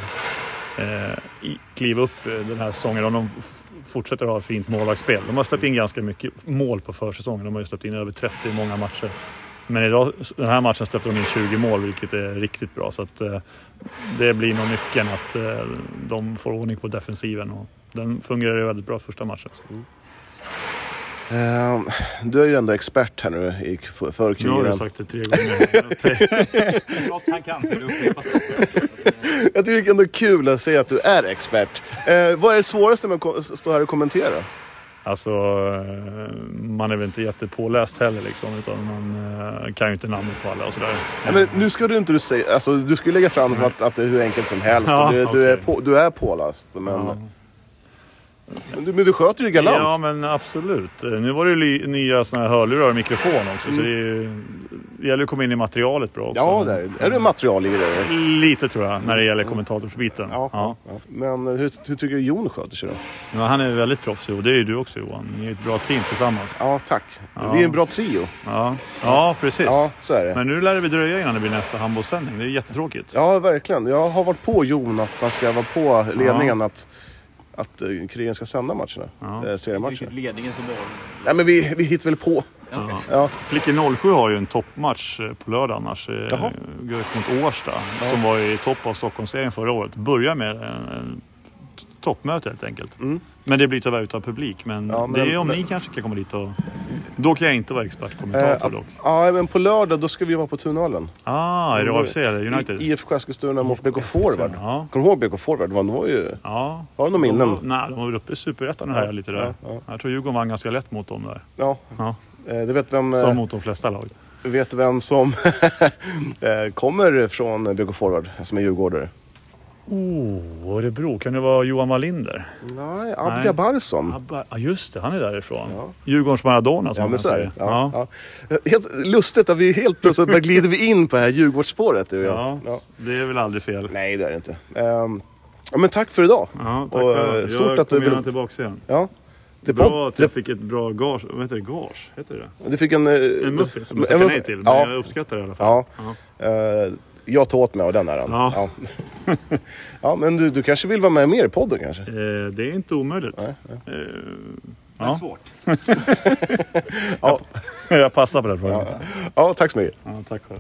eh, i, kliv upp eh, den här säsongen om de f- fortsätter ha ett fint målvaktsspel. De har släppt in ganska mycket mål på försäsongen. De har ju släppt in över 30 i många matcher. Men idag, den här matchen släppte de in 20 mål, vilket är riktigt bra. Så att, eh, det blir nog nyckeln att eh, de får ordning på defensiven. Och den fungerade väldigt bra första matchen. Så. Eh, du är ju ändå expert här nu i, för, för Nu har du kuren. sagt det tre gånger. han kan, så Jag tycker det är ändå kul att se att du är expert. Eh, vad är det svåraste med att ko- stå här och kommentera? Alltså, eh, man är väl inte jättepåläst heller liksom, utan man eh, kan ju inte namnet på alla och sådär. Nej, men nu ska du inte du säga... Alltså, du ska ju lägga fram som att, att det är hur enkelt som helst. Ja, du, du, okej. är på, du är påläst, men, Ja. men, du, men du sköter ju galant. Ja, men absolut. Eh, Nu var det ju li- nya såna här hörlurar och mikrofon också, så det, är ju, det gäller ju att komma in i materialet bra också. Ja, där. Är du materialgrej? Lite tror jag, när det gäller kommentatorsbiten. Ja. ja. Men eh, hur, hur tycker du Jon sköter sig då? Ja, han är väldigt proffsig och det är ju du också Johan. Ni är ett bra team tillsammans. Ja, tack. Ja. Vi är en bra trio. Ja, ja precis. Ja, så är det. Men nu lär det väl dröja innan det blir nästa handbollssändning. Det är jättetråkigt. Ja, verkligen. Jag har varit på Jon att han ska vara på ledningen att, att eh, Krigen ska sända matcherna. Ja. Eh, seriematcherna. Vilket ledningen som mål. Nej, men vi, vi hittar väl på. Ja. Ja. Flickor 07 har ju en toppmatch eh, på lördag annars. eh, Jaha. GIF mot Årsta som var i topp av Stockholmsserien förra året. Börjar med en, en t- toppmöte helt enkelt. Men det blir tyvärr utan publik. Men, Mm. Ja, men- det är om men- ni kanske kan komma dit och... Då kan jag inte vara expertkommentator Eh, dock. ja, men på lördag då ska vi vara på Tunhallen. Ah, är det AFC eller United? I, IFK Eskilstuna mot BK Forward. Ja. Kommer du ihåg BK Forward? De var ju... Ja. Har du några minnen? De, nej, de var väl uppe i Superettan här lite där. ja, ja. Jag tror Djurgården vann ganska lätt mot dem där. Ja, Ja. eh, du vet vem, Som eh, mot de flesta lag. vet vem som eh, kommer från BK Forward, som är djurgårdare? Oh, Örebro. Kan det vara Johan Wallinder? Nej, Nej. Abga Barsom. Abba- Ja, just det. Han är därifrån. Mm. Ja. Djurgårdens Maradona som Ja, men man så är säger. det. Ja, ja. Eh, Helt lustigt att vi helt plötsligt bara glider vi in på det här Djurgårdsspåret du och jag. Ja. Ja. det är väl aldrig fel. Nej, det är det inte. Ehm, ja, men tack för idag. Ja, tack Och, för eh, det. stort Jag att du kommer vill- gärna tillbaka igen. Ja. Det Bra typ. att jag det, fick ett bra gage. Vad heter det? Gage? Heter det du fick en... det? eh, En muffins som jag en tackar muff- nej till. Men Ja. jag uppskattar det i alla fall. ja. Eh, jag tog åt mig av den äran. Ja. Ja. ja, men du, du kanske vill vara med mer i podden kanske? Eh, det är inte omöjligt. Eh, Men Ja. svårt. jag passar på den frågan. Ja. Ja, tack så mycket. tack själv.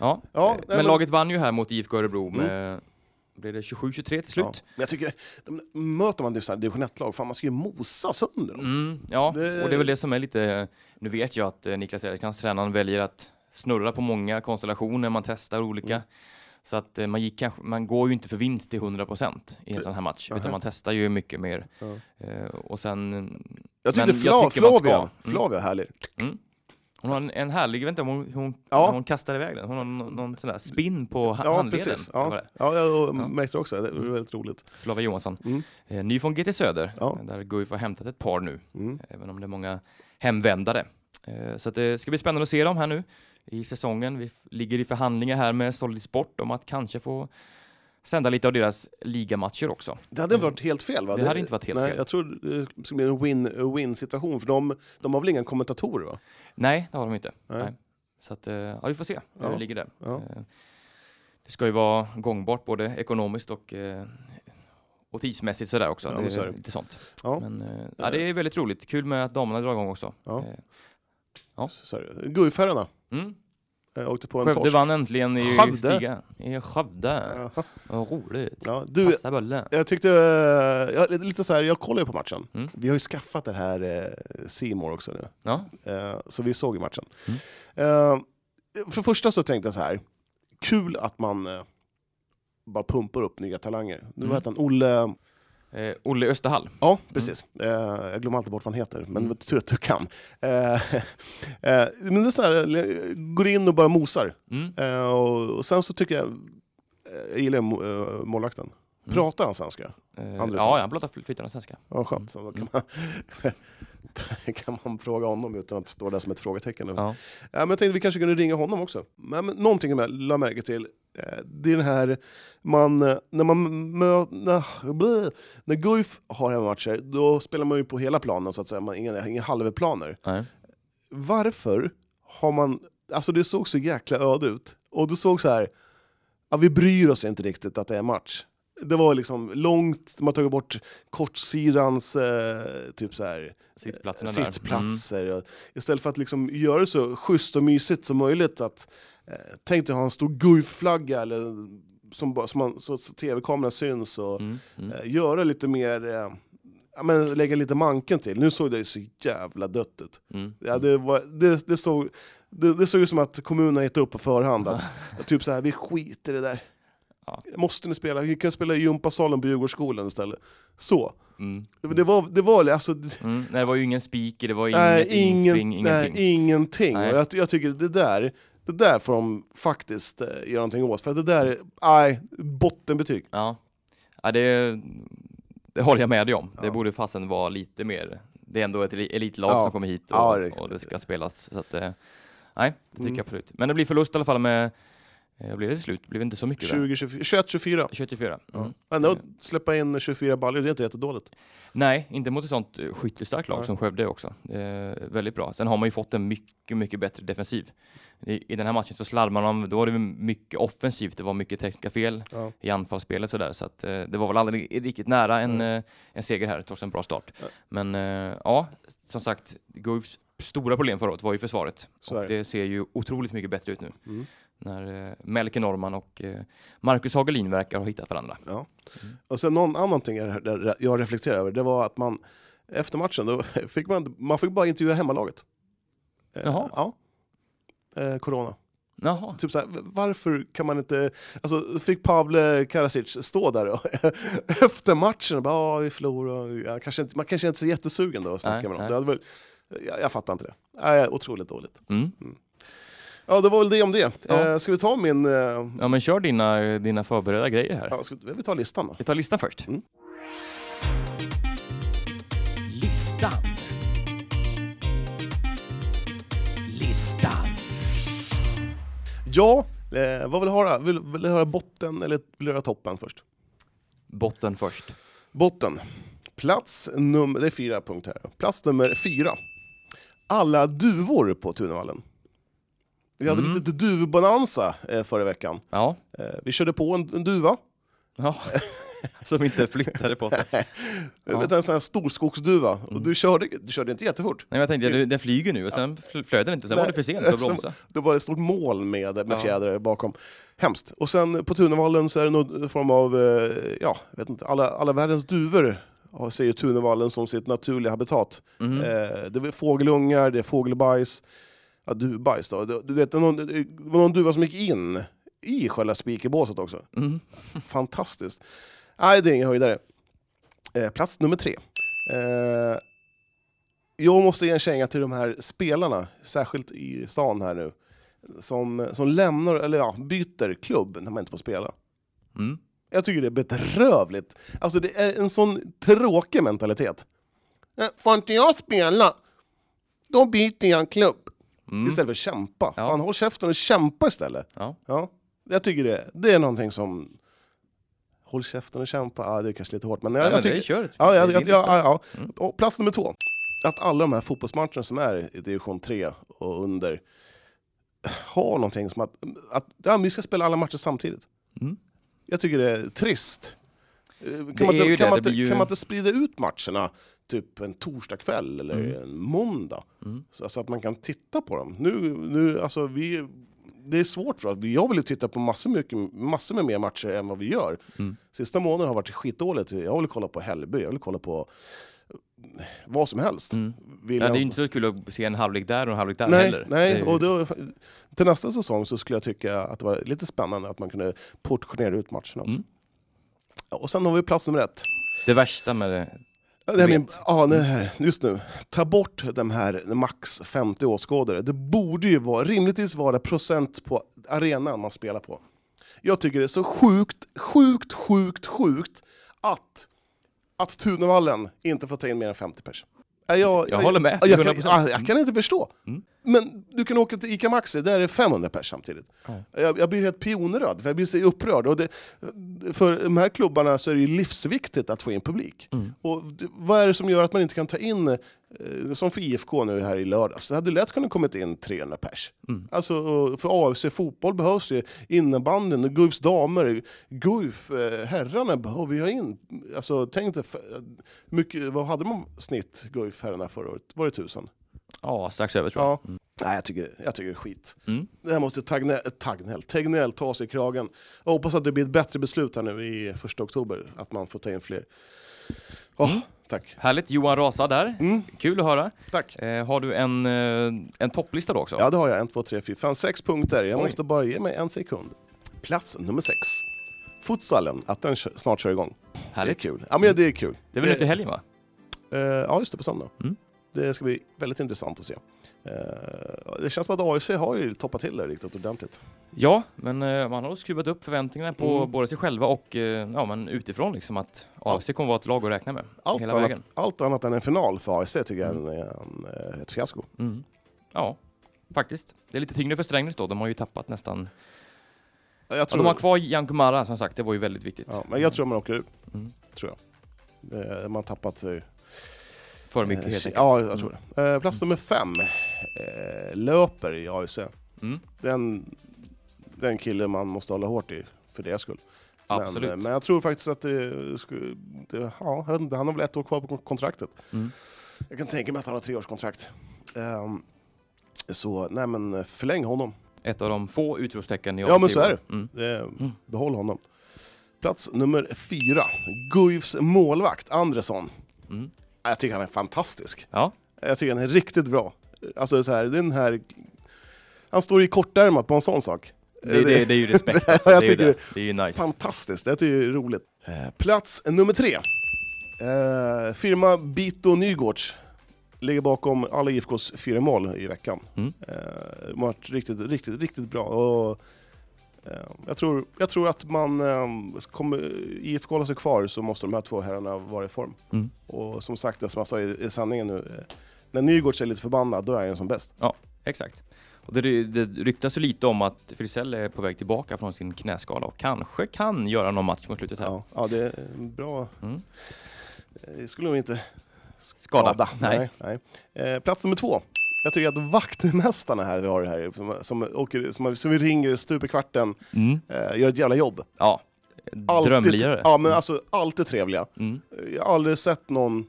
Ja. Ja, men, men- laget vann ju här mot IFK Örebro med... Blev det 27-23 till Ja. slut? Men jag tycker, de, möter man sådana här division 1-lag, fan man ska ju mosa sönder dem. Mm, ja, Det- och det är väl det som är lite... Nu vet jag att eh, Niklas Eriksons tränaren väljer att snurra på många konstellationer, man testar olika. Så att eh, man, gick kanske, man går ju inte för vinst till 100% i en sån här match, utan man testar ju mycket mer. Eh, och sen... Jag tyckte men Fla, jag tycker man ska. Flavia, Mm. Flavia är härlig. Hon har en, en härlig, jag vet inte om hon, hon, Ja. hon kastar iväg den, hon har någon, någon sån där spin på ha- Ja, handleden. precis. Det var Ja, det. Mm. ja jag märkte det också. Det var väldigt roligt. Flava Johansson. Eh, ny från GT Söder, Mm. Ja. där Guif har hämtat ett par nu, även om det är många hemvändare. Eh, så att det ska bli spännande att se dem här nu i säsongen. Vi f- ligger i förhandlingar här med Solid Sport om att kanske få sända lite av deras ligamatcher också. Det hade inte varit helt fel va? Det hade inte varit helt nej, fel. Jag tror det skulle bli en win- win situation för de, de har väl inga kommentatorer va? Nej, det har de inte. Nej. Nej. Så att, eh, ja, vi får se hur Ja. det ligger där. Ja. Eh, Det ska ju vara gångbart både ekonomiskt och, eh, och tidsmässigt sådär också. Ja, men det så är är det. lite sånt. Ja. Men, eh, ja, det är väldigt roligt. Kul med att damerna drar igång också. Ja. Eh, Så här, Guifherrarna Mm. eh, åkte på en Skövde torsk. vann äntligen i Skövde. Stiga. I Skövde. Ja. Vad roligt. Ja, du, Passa bulle. jag tyckte, eh, jag, lite så här, jag kollar ju på matchen. Mm. Vi har ju skaffat det här eh, C More också nu. Ja. Eh, så vi såg ju matchen. Mm. Eh, för det första så tänkte jag så här, kul att man eh, bara pumpar upp nya talanger. Nu Mm. mm. heter han Olle... Eh, Olle Österhall. Ja, precis. Eh, jag glömmer alltid bort vad han heter, men Mm. tur att du kan. Eh, eh, men det är så här, eh, går in och bara mosar. Mm. Eh, och, och sen så tycker jag, eh, jag gillar mo- eh, målvakten. Mm. Pratar han svenska? Eh, Andresson. ja, han pratar fly- flytande svenska. Ja, skönt. Så då kan, man, kan man fråga honom utan att stå där som ett frågetecken. Ja. Ja, men jag tänkte vi kanske kunde ringa honom också. Men, men någonting jag la märke till, eh, det är den här, man, eh, när man möter, när, bleh, när Guif har hemmamatcher, då spelar man ju på hela planen så att säga, man, inga, inga halvplaner. Nej. Varför har man, alltså det såg så jäkla öde ut, och du såg så här, ja, vi bryr oss inte riktigt att det är match. Det var liksom långt, de har tagit bort kortsidans eh, typ så här, Sittplatserna där. sittplatser. Och Istället för att liksom göra det så schysst och mysigt som möjligt. Att, eh, tänk dig ha en stor Guif-flagga eller som, bara- som man, så, så tv-kameran syns. Och, Mm. Mm. eh, göra lite mer, eh, ja, men lägga lite manken till. Nu såg det ju så jävla dött ut. Mm. Ja, det, var, det, det, såg, det, det såg ut som att kommunen gett upp på förhand. Att, typ så här, vi skiter i det där. Ja. Måste ni spela? Vi kan spela i gympasalen på Djurgårdsskolan istället. Så. Mm. Det, det var, det var alltså, Mm. Nej, det var ju ingen speaker, det var inget nej, ingen, inspring, ingenting. nej, ingenting. Nej. Och jag, jag tycker det där, det där får de faktiskt eh, göra någonting åt. För att det där, är- nej, bottenbetyg. Ja, ja det, det håller jag med dig om. Det borde fasen vara lite mer. Det är ändå ett eli- elitlag Ja. som kommer hit och, Ja, det är Mm. och det ska spelas. Så att, eh, nej, det tycker jag absolut. Men det blir förlust i alla fall med, eh, blir det till slut? Blir det inte så mycket? där? 20, 24, 21, 24. 24. Mm. Ändå släppa in 24 baljor, det är inte jättedåligt. Nej, inte mot ett sånt eh, skyttelstarkt lag som Skövde också. Eh, väldigt bra. Sen har man ju fått en mycket, mycket bättre defensiv. I, i den här matchen så slarvar man, då var det mycket offensivt, det var mycket tekniska fel Ja. i anfallsspelet sådär. Så att, eh, det var väl aldrig riktigt nära en, eh, en seger här, trots en bra start. Men eh, ja, som sagt, Guifs stora problem förra året var ju försvaret. Så och är det. Mm. det ser ju otroligt mycket bättre ut nu. När eh, Melke Norman och eh, Marcus Hagelin verkar ha hittat varandra. Ja. Och sen någon annan ting jag, där jag reflekterade över, det var att man efter matchen, då fick man, man fick bara intervjua hemmalaget. Eh, Jaha. Ja. Eh, corona. Jaha, Typ såhär, varför kan man inte... Alltså, fick Pavle Karasic stå där och efter matchen och bara "Ja, vi förlorade, ja, kanske inte, man kanske inte är så jättesugen då att Nej, snacka med dem. nej. Det hade väl, jag, jag fattar inte det. Nej, otroligt dåligt. mm. Ja, det var väl det om det. Ja. Eh, ska vi ta min... Eh, ja, Ja men kör dina, dina förberedda grejer här. ska, vi tar listan då. Vi tar listan först. Mm. Listan. Listan. Ja, eh, vad vill du höra? Vill, vill du höra botten eller vill du höra toppen först? Botten först. Botten. Plats nummer... Det är fyra punkter här. Plats nummer fyra. Alla duvor på Tunavallen. Vi hade lite duvbonanza eh, förra veckan. Ja. Eh, vi körde på en, en duva. ja. Som inte flyttade på sig. Nej Eh, vet du, En sån här storskogsduva. Och du körde, du körde inte jättefort. men jag tänkte, du- den flyger nu och sen fl- flög den inte, sen var det för sent att Sen- bromsa. Då var det ett stort mål med, med Ja. fjädrar bakom. Hemskt. Och sen på Tunavallen så är det någon form av, eh, ja, jag vet inte, alla, alla världens duvor har- ser ju Tunavallen som sitt naturliga habitat. Mm, Eh, det är fågelungar, det är fågelbajs, ja, duvbajs då. Det, du vet, det, är någon, det var någon duva som gick in i själva speakerbåset också. mm, Fantastiskt. Nej, det är ingen höjdare. Eh, plats nummer tre. Eh, jag måste ge en känga till de här spelarna, särskilt i stan här nu, som, som lämnar, eller ja, byter klubb när man inte får spela. Mm. Jag tycker det är bedrövligt. Alltså det är en sån tråkig mentalitet. Eh, Får inte jag spela, då byter jag klubb. Istället för att kämpa. Ja. Fan, håll käften och kämpa istället. Ja. Mm. Ja, jag tycker det, det är någonting som... Håll käften och kämpa, ja, det är kanske lite hårt, men jag, Ja, jag men det tycker... är kört. Ja, Det ja, är ja, din ja, lista. Mm. ja, ja. Och plats nummer två. Att alla de här fotbollsmatcherna som är i division 3 och under har någonting som att, att ja, men vi ska spela alla matcher samtidigt. Mm. Jag tycker det är trist. Eh, Kan, Det är man, inte, ju kan, det, man, det inte, blir ju- kan man inte sprida ut matcherna typ en torsdagkväll eller Mm. en måndag? Så, så att man kan titta på dem. Nu, nu, alltså, vi, det är svårt för oss. Jag vill ju titta på massor, mycket, massor med mer matcher än vad vi gör. Sista månaden har varit skitdåligt. Jag vill kolla på Hällby, jag vill kolla på eh, vad som helst. Vill Mm. Ja, det är jag- ju inte så kul att se en halvlek där och en halvlek där Nej, heller. Det är nej ju- och då, till nästa säsong så skulle jag tycka att det var lite spännande att man kunde portionera ut matcherna också. Mm. Ja, och sen har vi plats nummer ett. det värsta med det. Ja, det är Vet. min, ja, det här, just nu. Ta bort de här max 50 åskådare. Det borde ju vara, rimligtvis vara procent på arenan man spelar på. Jag tycker det är så sjukt, sjukt, sjukt, sjukt att, att Tunavallen inte får ta in mer än 50 pers. Ja, Jag, håller med, Mm. ja, Jag, kan, 100%. ja, jag kan inte förstå. Men du kan åka till ICA Maxi, där är det 500 pers samtidigt. Jag, jag blir helt pionröd, för jag blir så upprörd. Och det, för de här klubbarna så är det ju livsviktigt att få in publik. Och d- vad är det som gör att man inte kan ta in, eh, som för IFK nu här i lördags, det hade lätt kunnat kommit in 300 pers. Alltså och för AFC fotboll behövs ju innebandyn, och Guifs damer, Guif eh, herrarna behöver ju ha in. Alltså tänk dig, f- mycket, vad hade man snitt Guif herrarna förra året? Var det tusen? Ja, strax över tror jag. Ja. Nej, jag tycker, jag tycker det är skit. Mm. Det här måste Tagnell, Tagnell, Tegnell ta sig i kragen. Jag hoppas att det blir ett bättre beslut här nu i första oktober, att man får ta in fler. Åh, Mm. Tack. Mm, Härligt, Johan Rasa där. Kul att höra. Tack. Eh, har du en, eh, en topplista då också? Ja, det har jag. En, två, tre, fyra, fem, sex punkter. Jag måste bara ge mig en sekund. Plats nummer sex. futsalen, att den kö- snart kör igång. Härligt. Det är kul. Ja, men det är kul. Det är väl nu till helgen va? Eh, ja, just det, på söndag. Mm. Det ska bli väldigt intressant att se. Eh, det känns som att AFC har ju toppat till det riktigt ordentligt. Ja, men eh, man har skruvat upp förväntningarna på Mm. både sig själva och eh, ja, men utifrån liksom att AFC kommer vara ett lag att räkna med Allt, hela vägen. annat, allt annat än en final för AFC tycker jag är en, en, ett fiasko. Mm. Ja, faktiskt. Det är lite tyngre för Strängnäs då. De har ju tappat nästan... Jag Ja, tror, de har kvar Jankumara som sagt, det var ju väldigt viktigt. ja, men jag tror man åker ur. Mm. Tror jag. Eh, man har tappat... eh, För mycket eh, helt enkelt. Mm. Ja, jag tror det. Eh, plats nummer fem. Eh, löper i AFC. Mm. Den, den killen man måste hålla hårt i för deras skull. Absolut. Men, men jag tror faktiskt att det, skulle, det ja, jag vet inte, han har väl ett år kvar på kontraktet. Mm. Jag kan tänka mig att han har treårskontrakt. Ehm, så nej men eh, förläng honom. Ett av de få utropstecken i Ja, AFC men så är Mm. Eh, Behåll honom. Plats nummer fyra. Guifs målvakt Andresson. Mm. Ja, Jag tycker han är fantastisk. Ja. Jag tycker han är riktigt bra. Alltså så här, den här... Han står i kortärmat på en sån sak. Det, det, det är ju respekt alltså. Eh, Jag det, är ju tycker det. det är ju nice. Fantastiskt, det är ju roligt. Eh, Plats nummer tre. Eh, firma Bito Nygårds ligger bakom alla IFKs fyra mål i veckan. Mm. Eh, de har varit riktigt, riktigt, riktigt bra. Och, eh, jag, tror, jag tror att man eh, kommer IFK hålla sig kvar så måste de här två herrarna vara i form. Mm. Och som sagt, det som jag sa i, i sändningen nu, eh, när Nygårds är lite förbannad, då är han som bäst. Exakt. Och det, ry- det ryktas ju lite om att Frisell är på väg tillbaka från sin knäskada och kanske kan göra någon match mot slutet här. Ja, ja det är en bra... Mm. Eh, skulle nog inte Skada. Skada. Nej. Nej. Nej. Eh, plats nummer två. Jag tycker att vaktmästarna här vi har här, som, som, åker, som, som vi ringer stup i kvarten, Mm. eh, gör ett jävla jobb. Ja. Drömlirare. Ja, men alltså alltid trevliga. Mm. Eh, Jag har aldrig sett någon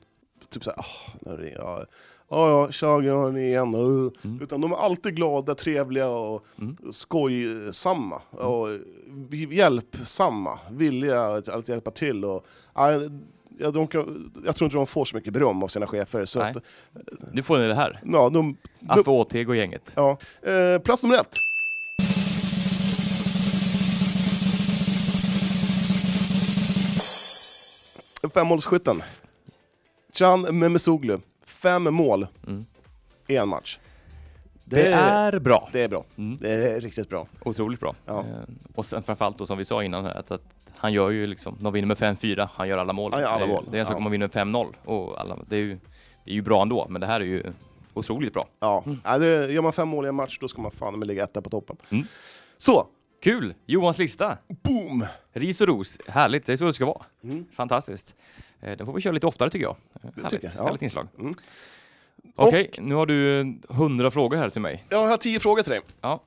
typ såhär, åh, när det- ja, ja, ja, tja, nu har ni igen. Uh. Mm. Utan de är alltid glada, trevliga och Mm. skojsamma. Och hjälpsamma, villiga att att hjälpa till. Och, ja, jag, de kan, jag tror inte de får så mycket beröm av sina chefer. Så Nej. att, Nu får ni det här. ja, de, de, Affe Åteg och gänget. Ja. Eh, plats nummer ett. Femmålsskytten. Can Memesoglu. Fem mål Mm. i en match. Det, Det är... är bra. det är bra. Mm. Det är riktigt bra. Otroligt bra. Ja. Eh, Och sen framförallt då som vi sa innan här, att, att han gör ju liksom, de vinner med 5-4, han gör alla mål. Han gör alla det, är ju- mål, Det är en sak ja. om man vinner med 5-0, och alla, det, är ju, det är ju bra ändå, men det här är ju otroligt bra. Ja. Ja, det, gör man fem mål i en match, då ska man fan med ligga etta på toppen. Mm. Så, Kul! Johans lista! boom! Ris och ros, härligt, det är så det ska vara. Mm. Fantastiskt. Eh, Den får vi köra lite oftare tycker jag. Eh, Härligt, tycker jag, ja. härligt inslag. Mm. Okej, nu har du eh, 100 frågor här till mig. Jag har tio frågor till dig. Ja.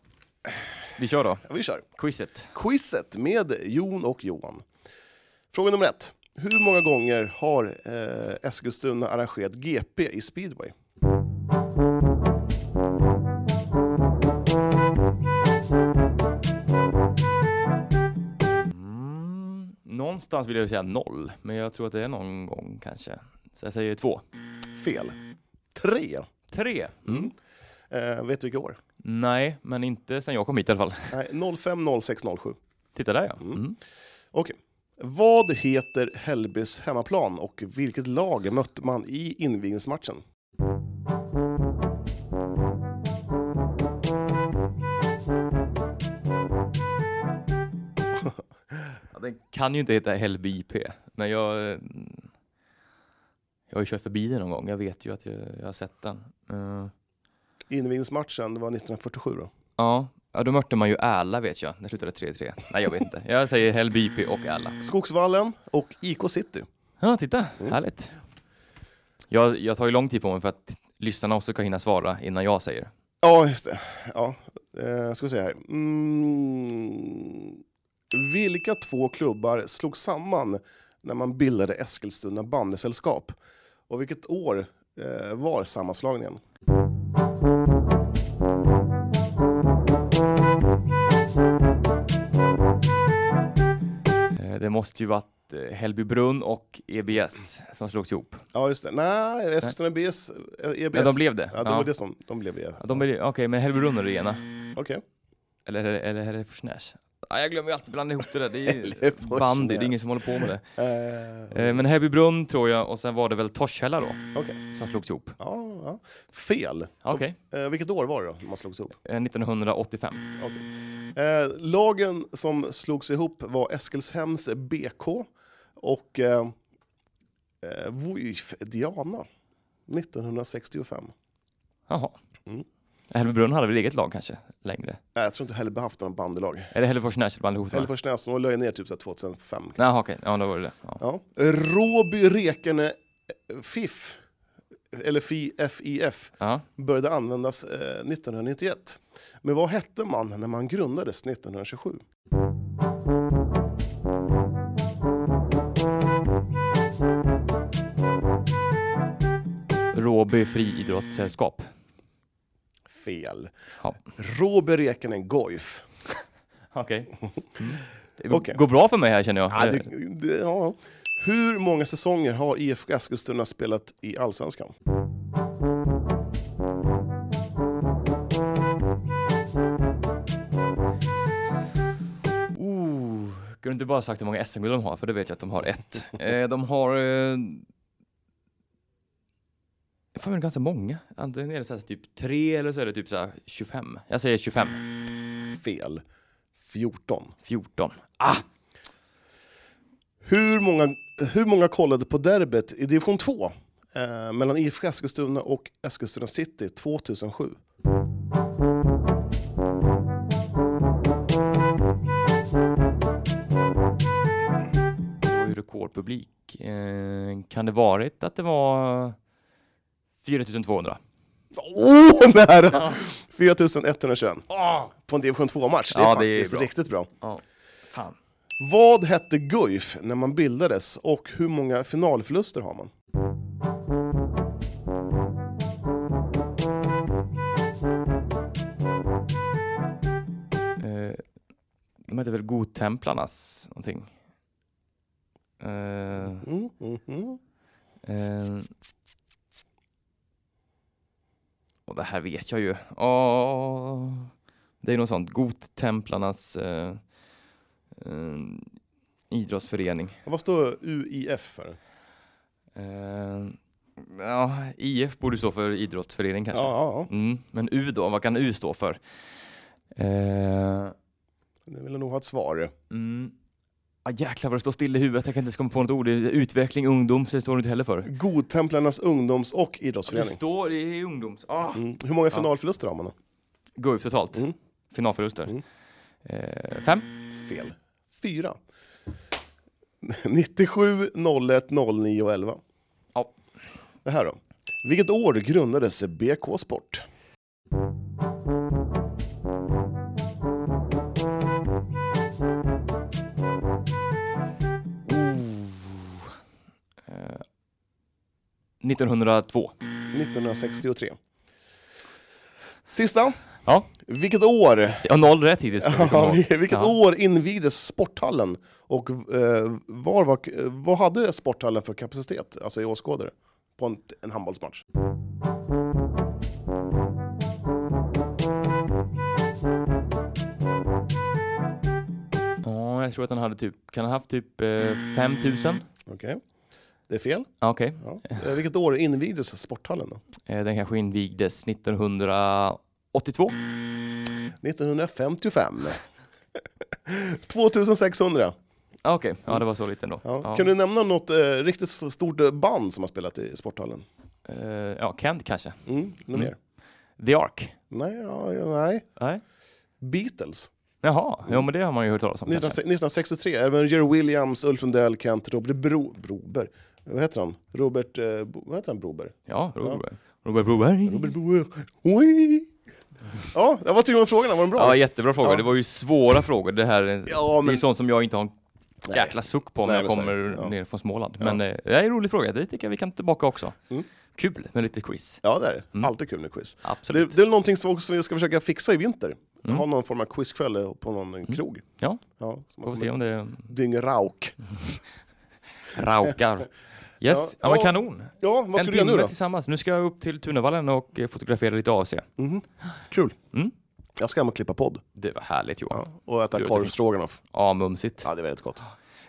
Vi kör då, Ja, vi kör. quizet. Quizet med Jon och Johan. Fråga nummer ett. Hur många gånger har eh, Eskilstuna arrangerat GP i speedway? Mm, någonstans vill jag säga noll, men jag tror att det är någon gång kanske. Så jag säger två. Fel. Tre. Tre? Eh, vet du vilka år? Nej, men inte sen jag kom hit i alla fall. Nej, 05, 06, 07. Titta där ja. Mm. Mm. Okej. Vad heter Hellbys hemmaplan och vilket lag mötte man i invigningsmatchen? Ja, Den kan ju inte heta Hällby IP, men jag... eh, Jag har ju kört förbi den någon gång, jag vet ju att jag, jag har sett den. Eh, Invigningsmatchen var 1947 då. ja. ja, då mötte man ju Äla vet jag, det slutade 3-3. Nej, jag vet inte. Jag säger Hällby IP och Äla. Skogsvallen och IK City. Ja, titta, Mm. härligt. Jag, jag tar ju lång tid på mig för att lyssnarna också ska hinna svara innan jag säger. Ja, just det. Ja, eh, ska vi se här. Mm. Vilka två klubbar slog samman när man bildade Eskilstuna bandysällskap? Och vilket år eh, var sammanslagningen? Eh, Det måste ju varit eh, Hällbybrunn och EBS som slogs ihop. Ja, just det. Nej, Eskilstuna BS, eh, EBS. Ja, de blev det. Ja, de, Var det som, de blev det. Ja, de blev- Okej, men Hällbybrunn är det ena. Okej. Eller, eller, eller är det Forsnäs? Ja, jag glömmer ju alltid blanda ihop det där. Det är Hällefors bandy, det är ingen Näs. som håller på med det. Eh, Eh, Men Häbbybrunn tror jag och sen var det väl Torshälla då Okej. som slogs ihop. Ja, ja. Fel. Ja, Okej, Eh, vilket år var det då man slogs ihop? Eh, 1985. Eh, lagen som slogs ihop var Eskilshems BK och eh, eh, Vuif Diana 1965. Jaha. Mm. Hällbybrunn hade väl eget lag kanske längre? Nej, jag tror inte Hälleby haft någon bandylag. Är det Hällefors Nash bland ihop med? Hälleforsnäs, de la ju ner typ så här 2005. kanske. Nej, okej. Ja, då var det det. Ja. Ja. Råby Rekene eh, FIF, eller FI- FIF, Ja. började användas eh, 1991. Men vad hette man när man grundades 1927? Råby friidrottssällskap. Fel. Ja. Råby Rekene Goif. Okej. Mm. Det går- Okej. går bra för mig här känner jag. Eh, Ja, det, det, ja. Hur många säsonger har IFK Eskilstuna spelat i Allsvenskan? Oh, kunde du inte bara sagt hur många SM-guld de har? För det vet jag att de har ett. eh, de har... Eh, jag får med ganska många. Antingen är det så här typ tre eller så är det typ så här 25. Jag säger 25. Mm. Fel. 14. 14. Hur många, hur många kollade på derbyt i division 2 eh, mellan IFK Eskilstuna och Eskilstuna City 2007? Det var ju rekordpublik. Eh, kan det varit att det var 4200? Åh, oh, nära! 4121 på en division 2-match. Det är Ah. Ja, det är faktiskt bra. riktigt bra. Fan. Vad hette Guif när man bildades och hur många finalförluster har man? Eh, de hette väl Godtemplarnas någonting? Eh, Mm, mm, mm. Eh, och det här vet jag ju. Åh, det är något sånt. Gottemplarnas eh, eh, idrottsförening. Vad står UIF för? Eh, ja, IF borde stå för idrottsförening Ja, kanske. ja, ja. Mm, men U då, vad kan U stå för? Eh, Jag ville nog ha ett svar. mm, ah, jäklar vad det står still i huvudet. Jag kan inte ens komma på något ord. Det är Utveckling, ungdom, så det står det inte heller för. Godtemplarnas ungdoms och Det idrottsförening. står i ungdoms... Ah. Mm. Hur många finalförluster har man då? Gå ut totalt. Mm. Finalförluster. Mm. Eh, fem. Fel. Fyra. 97, 01, 09 och 11. Ja. Det här då. Vilket år grundades BK Sport? Eh, 1902. 1963. Sista. Ja. Vilket år, Jag har noll rätt hittills. så jag kommer ihåg. vilket Ja. år invigdes sporthallen? Och eh, var var, vad hade sporthallen för kapacitet, alltså i åskådare, på en, en handbollsmatch? Ja, jag tror att han hade typ, kan han haft typ eh, 5000? Okej. Det är fel. Ja, Okej. Ja. Eh, vilket år invigdes sporthallen? Då? Eh, den kanske invigdes 1982. 1955. 2600. Ah, Okej, ja det var så lite ändå. Ja. Ja. Kan du nämna något eh, riktigt stort band som har spelat i sporthallen? Eh, ja, Kent kanske. Mm, något mer? The Ark? Nej, ja, ja, nej. Nej. Beatles. Jaha, jo men det har man ju hört talas om kanske. 1963, även Jerry Williams, Ulf Lundell, Kent, Robert Bro, Broberg. Vad heter han? Robert... Eh, Bo, vad heter han? Broberg? Ja, Robert Robert Broberg. Robert Broberg. Oj! Ja, vad tyckte du om frågorna? Var de bra? Ja, jättebra fråga. Ja. Det var ju svåra frågor. Det här är- Ja, det är men- ju sånt som jag inte har en jäkla suck på när Nej, jag men så kommer är det. Ja. ner från Småland. Men eh, det är en rolig fråga. Det tycker jag vi kan tillbaka också. Mm. Kul med lite quiz. Ja, det är det. Mm. Alltid kul med quiz. Det, Absolut. det är väl någonting som också vi ska försöka fixa i vinter. Mm. Ha någon form av quizkväll på någon krog. Ja. ja så man Får vi kommer- se om det Dyngerauk. raukar. Yes, ja, Ja, men och- kanon. Ja, vad En ska du göra nu timme då? tillsammans. Nu ska jag upp till Tunavallen och eh, fotografera lite AFC. Kul. Mm. Jag ska hem och klippa podd. Det var härligt Johan. Ja. Och äta Tror att det korv finns. stroganoff. Ja, mumsigt. Ja, det är väldigt gott.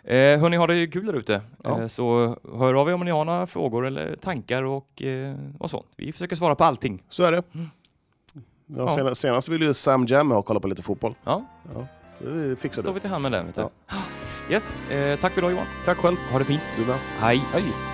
Eh, hörni, har det ju kul där ute. Ja. Eh, så hör av er om ni har några frågor eller tankar och, eh, och sånt. Vi försöker svara på allting. Så är det. Ja, Mm. Ja. Senast, senast ville ju Sam Jammer ha kollat på lite fotboll. Ja, Så vi så fixar står det. vi till hand med det. Vet du. Yes, eh, tack för idag Johan. Tack själv. Ha det fint. Du med. Hej. Hej.